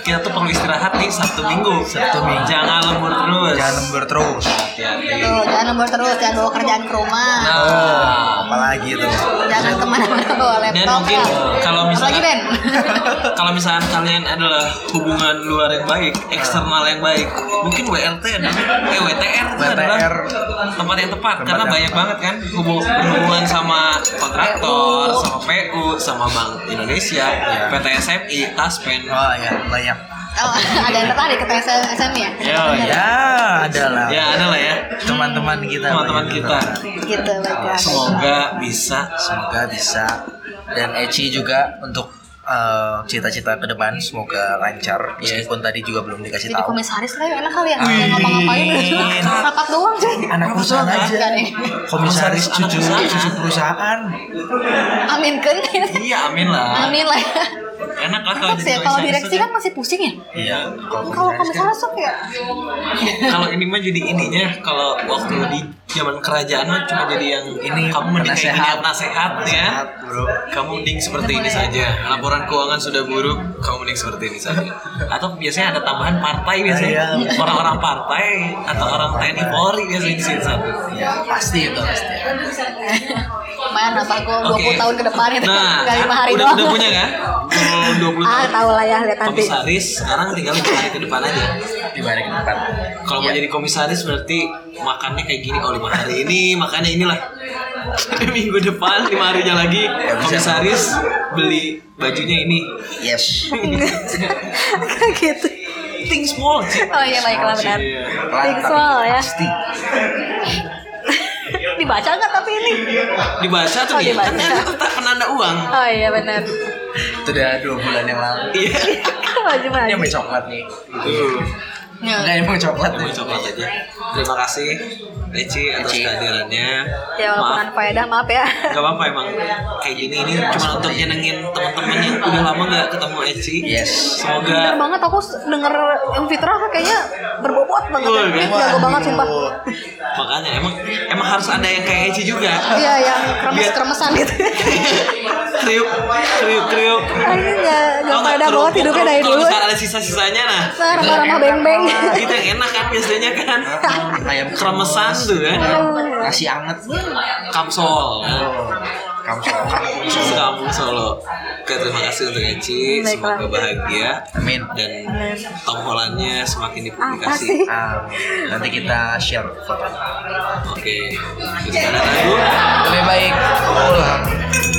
kita tuh perlu istirahat nih Sabtu Minggu.
Sabtu Minggu.
Jangan lembur terus.
jangan lembur terus.
Hati-hati.
tuh jangan lembur terus jangan bawa kerjaan ke rumah
Oh.
Nah,
Apalagi itu.
jangan kemana-mana bawa
dan
laptop
mungkin kalau
lagi Ben
misalnya kalau misalnya kalian adalah hubungan luar yang baik,
Nah.
eksternal yang baik, mungkin WRT dan eh WTR itu
WTR.
adalah tempat yang tepat
Tempat
karena
yang
banyak banget kan hubung- berhubungan sama kontraktor, sama PU, sama Bank Indonesia, PT SMI, Taspen.
Iya. Oh ya, banyak.
oh, ada yang tertarik ke PSM SM ya
Ya, ya.
Ya, adalah
Ya, ada lah ya
teman-teman kita.
teman-teman
banyak
kita.
tertarik.
gitu baiklah
Semoga bisa
Semoga bisa dan Eci juga untuk eh, cita-cita ke depan semoga lancar meskipun tadi juga belum dikasih
jadi
tahu.
komisaris lah enak kali ya nggak ngapa-ngapain
Wih.
rapat doang cuy
Anak perusahaan aja.
Enggak nih.
Komisaris
Anak
cucu
perusahaan.
cucu perusahaan.
amin kan
Iya, amin lah.
amin lah ya
Enak lah kalau
Tetap sih
jadi
ya, kalau
komisaris kan.
direksi
tuh.
kan masih pusing ya
Iya, kan
kalau komisaris tuh kayak
kalau ini mah jadi ininya kalau waktu di zaman kerajaan mah cuma jadi yang ini kamu mending kayak gini
penasehat.
nasehat ya
Sehat, Bro.
kamu mending seperti ini saja laporan keuangan sudah buruk kamu mending seperti ini saja atau biasanya ada tambahan partai biasanya
Ah, iya.
orang-orang partai atau orang TNI Polri biasanya di sini satu
Ya, pasti itu pasti.
lumayan "Eh, apa gue 20
Oke.
tahun ke depan itu
nah
nggak lima hari
udah
doang
udah punya kan kalau 20
ah
tahun
tau lah ya lihat nanti
komisaris sekarang tinggal lima hari ke depan aja
Di balik ke depan.
kalau
Iya.
mau jadi komisaris berarti makannya kayak gini oh lima hari ini makannya inilah minggu depan lima harinya lagi
Ya,
bisa.
komisaris beli bajunya ini
Yes.
Kayak gitu
think small sih
oh iya baiklah benar
Pelan, tapi
Soal ya.
Pasti.
dibaca nggak tapi ini
dibaca tuh
Oh,
dia kan
dibaca.
ada tetap penanda uang
oh iya benar
Itu udah dua bulan yang lalu.
iya
maju Ya, maju
Ini emang coklat nih.
Tuh,
Enggak emang coklat
emang
nih.
coklat aja terima kasih Eci atas
Eci.
kehadirannya
ya walaupun
maaf
faedah maaf ya
Gak apa-apa emang kayak gini ini cuma untuk nyenengin teman-teman yang udah lama gak ketemu Eci.
Yes.
Semoga
bener banget aku s- denger yang Fitra kayaknya berbobot banget
Wah,
Dia
gimana
jago banget sumpah
Aduh.
makanya emang emang harus ada yang kayak Eci juga
iya yang kremes
Biar-
kremesan gitu
kriuk kriuk kriuk
ini nggak nggak
Kalau
faedah
nggak
banget
kerupuk,
hidupnya dari
kalau
dulu
misalnya ada sisa-sisanya nah
nah ramah-ramah beng-beng
itu yang enak kan biasanya kan
Ayam
kremesan tuh kan
Nasi anget.
kamsol kan.
Oh, Kamu coklat.
Khusus kampung Solo Oke, terima kasih untuk Eci
Baiklah.
semoga bahagia
Amin.
dan tongkolannya semakin
apa sih
dipublikasi
Amin. Um, nanti kita share foto.
oke Terus ada lagu
Lebih baik pulang.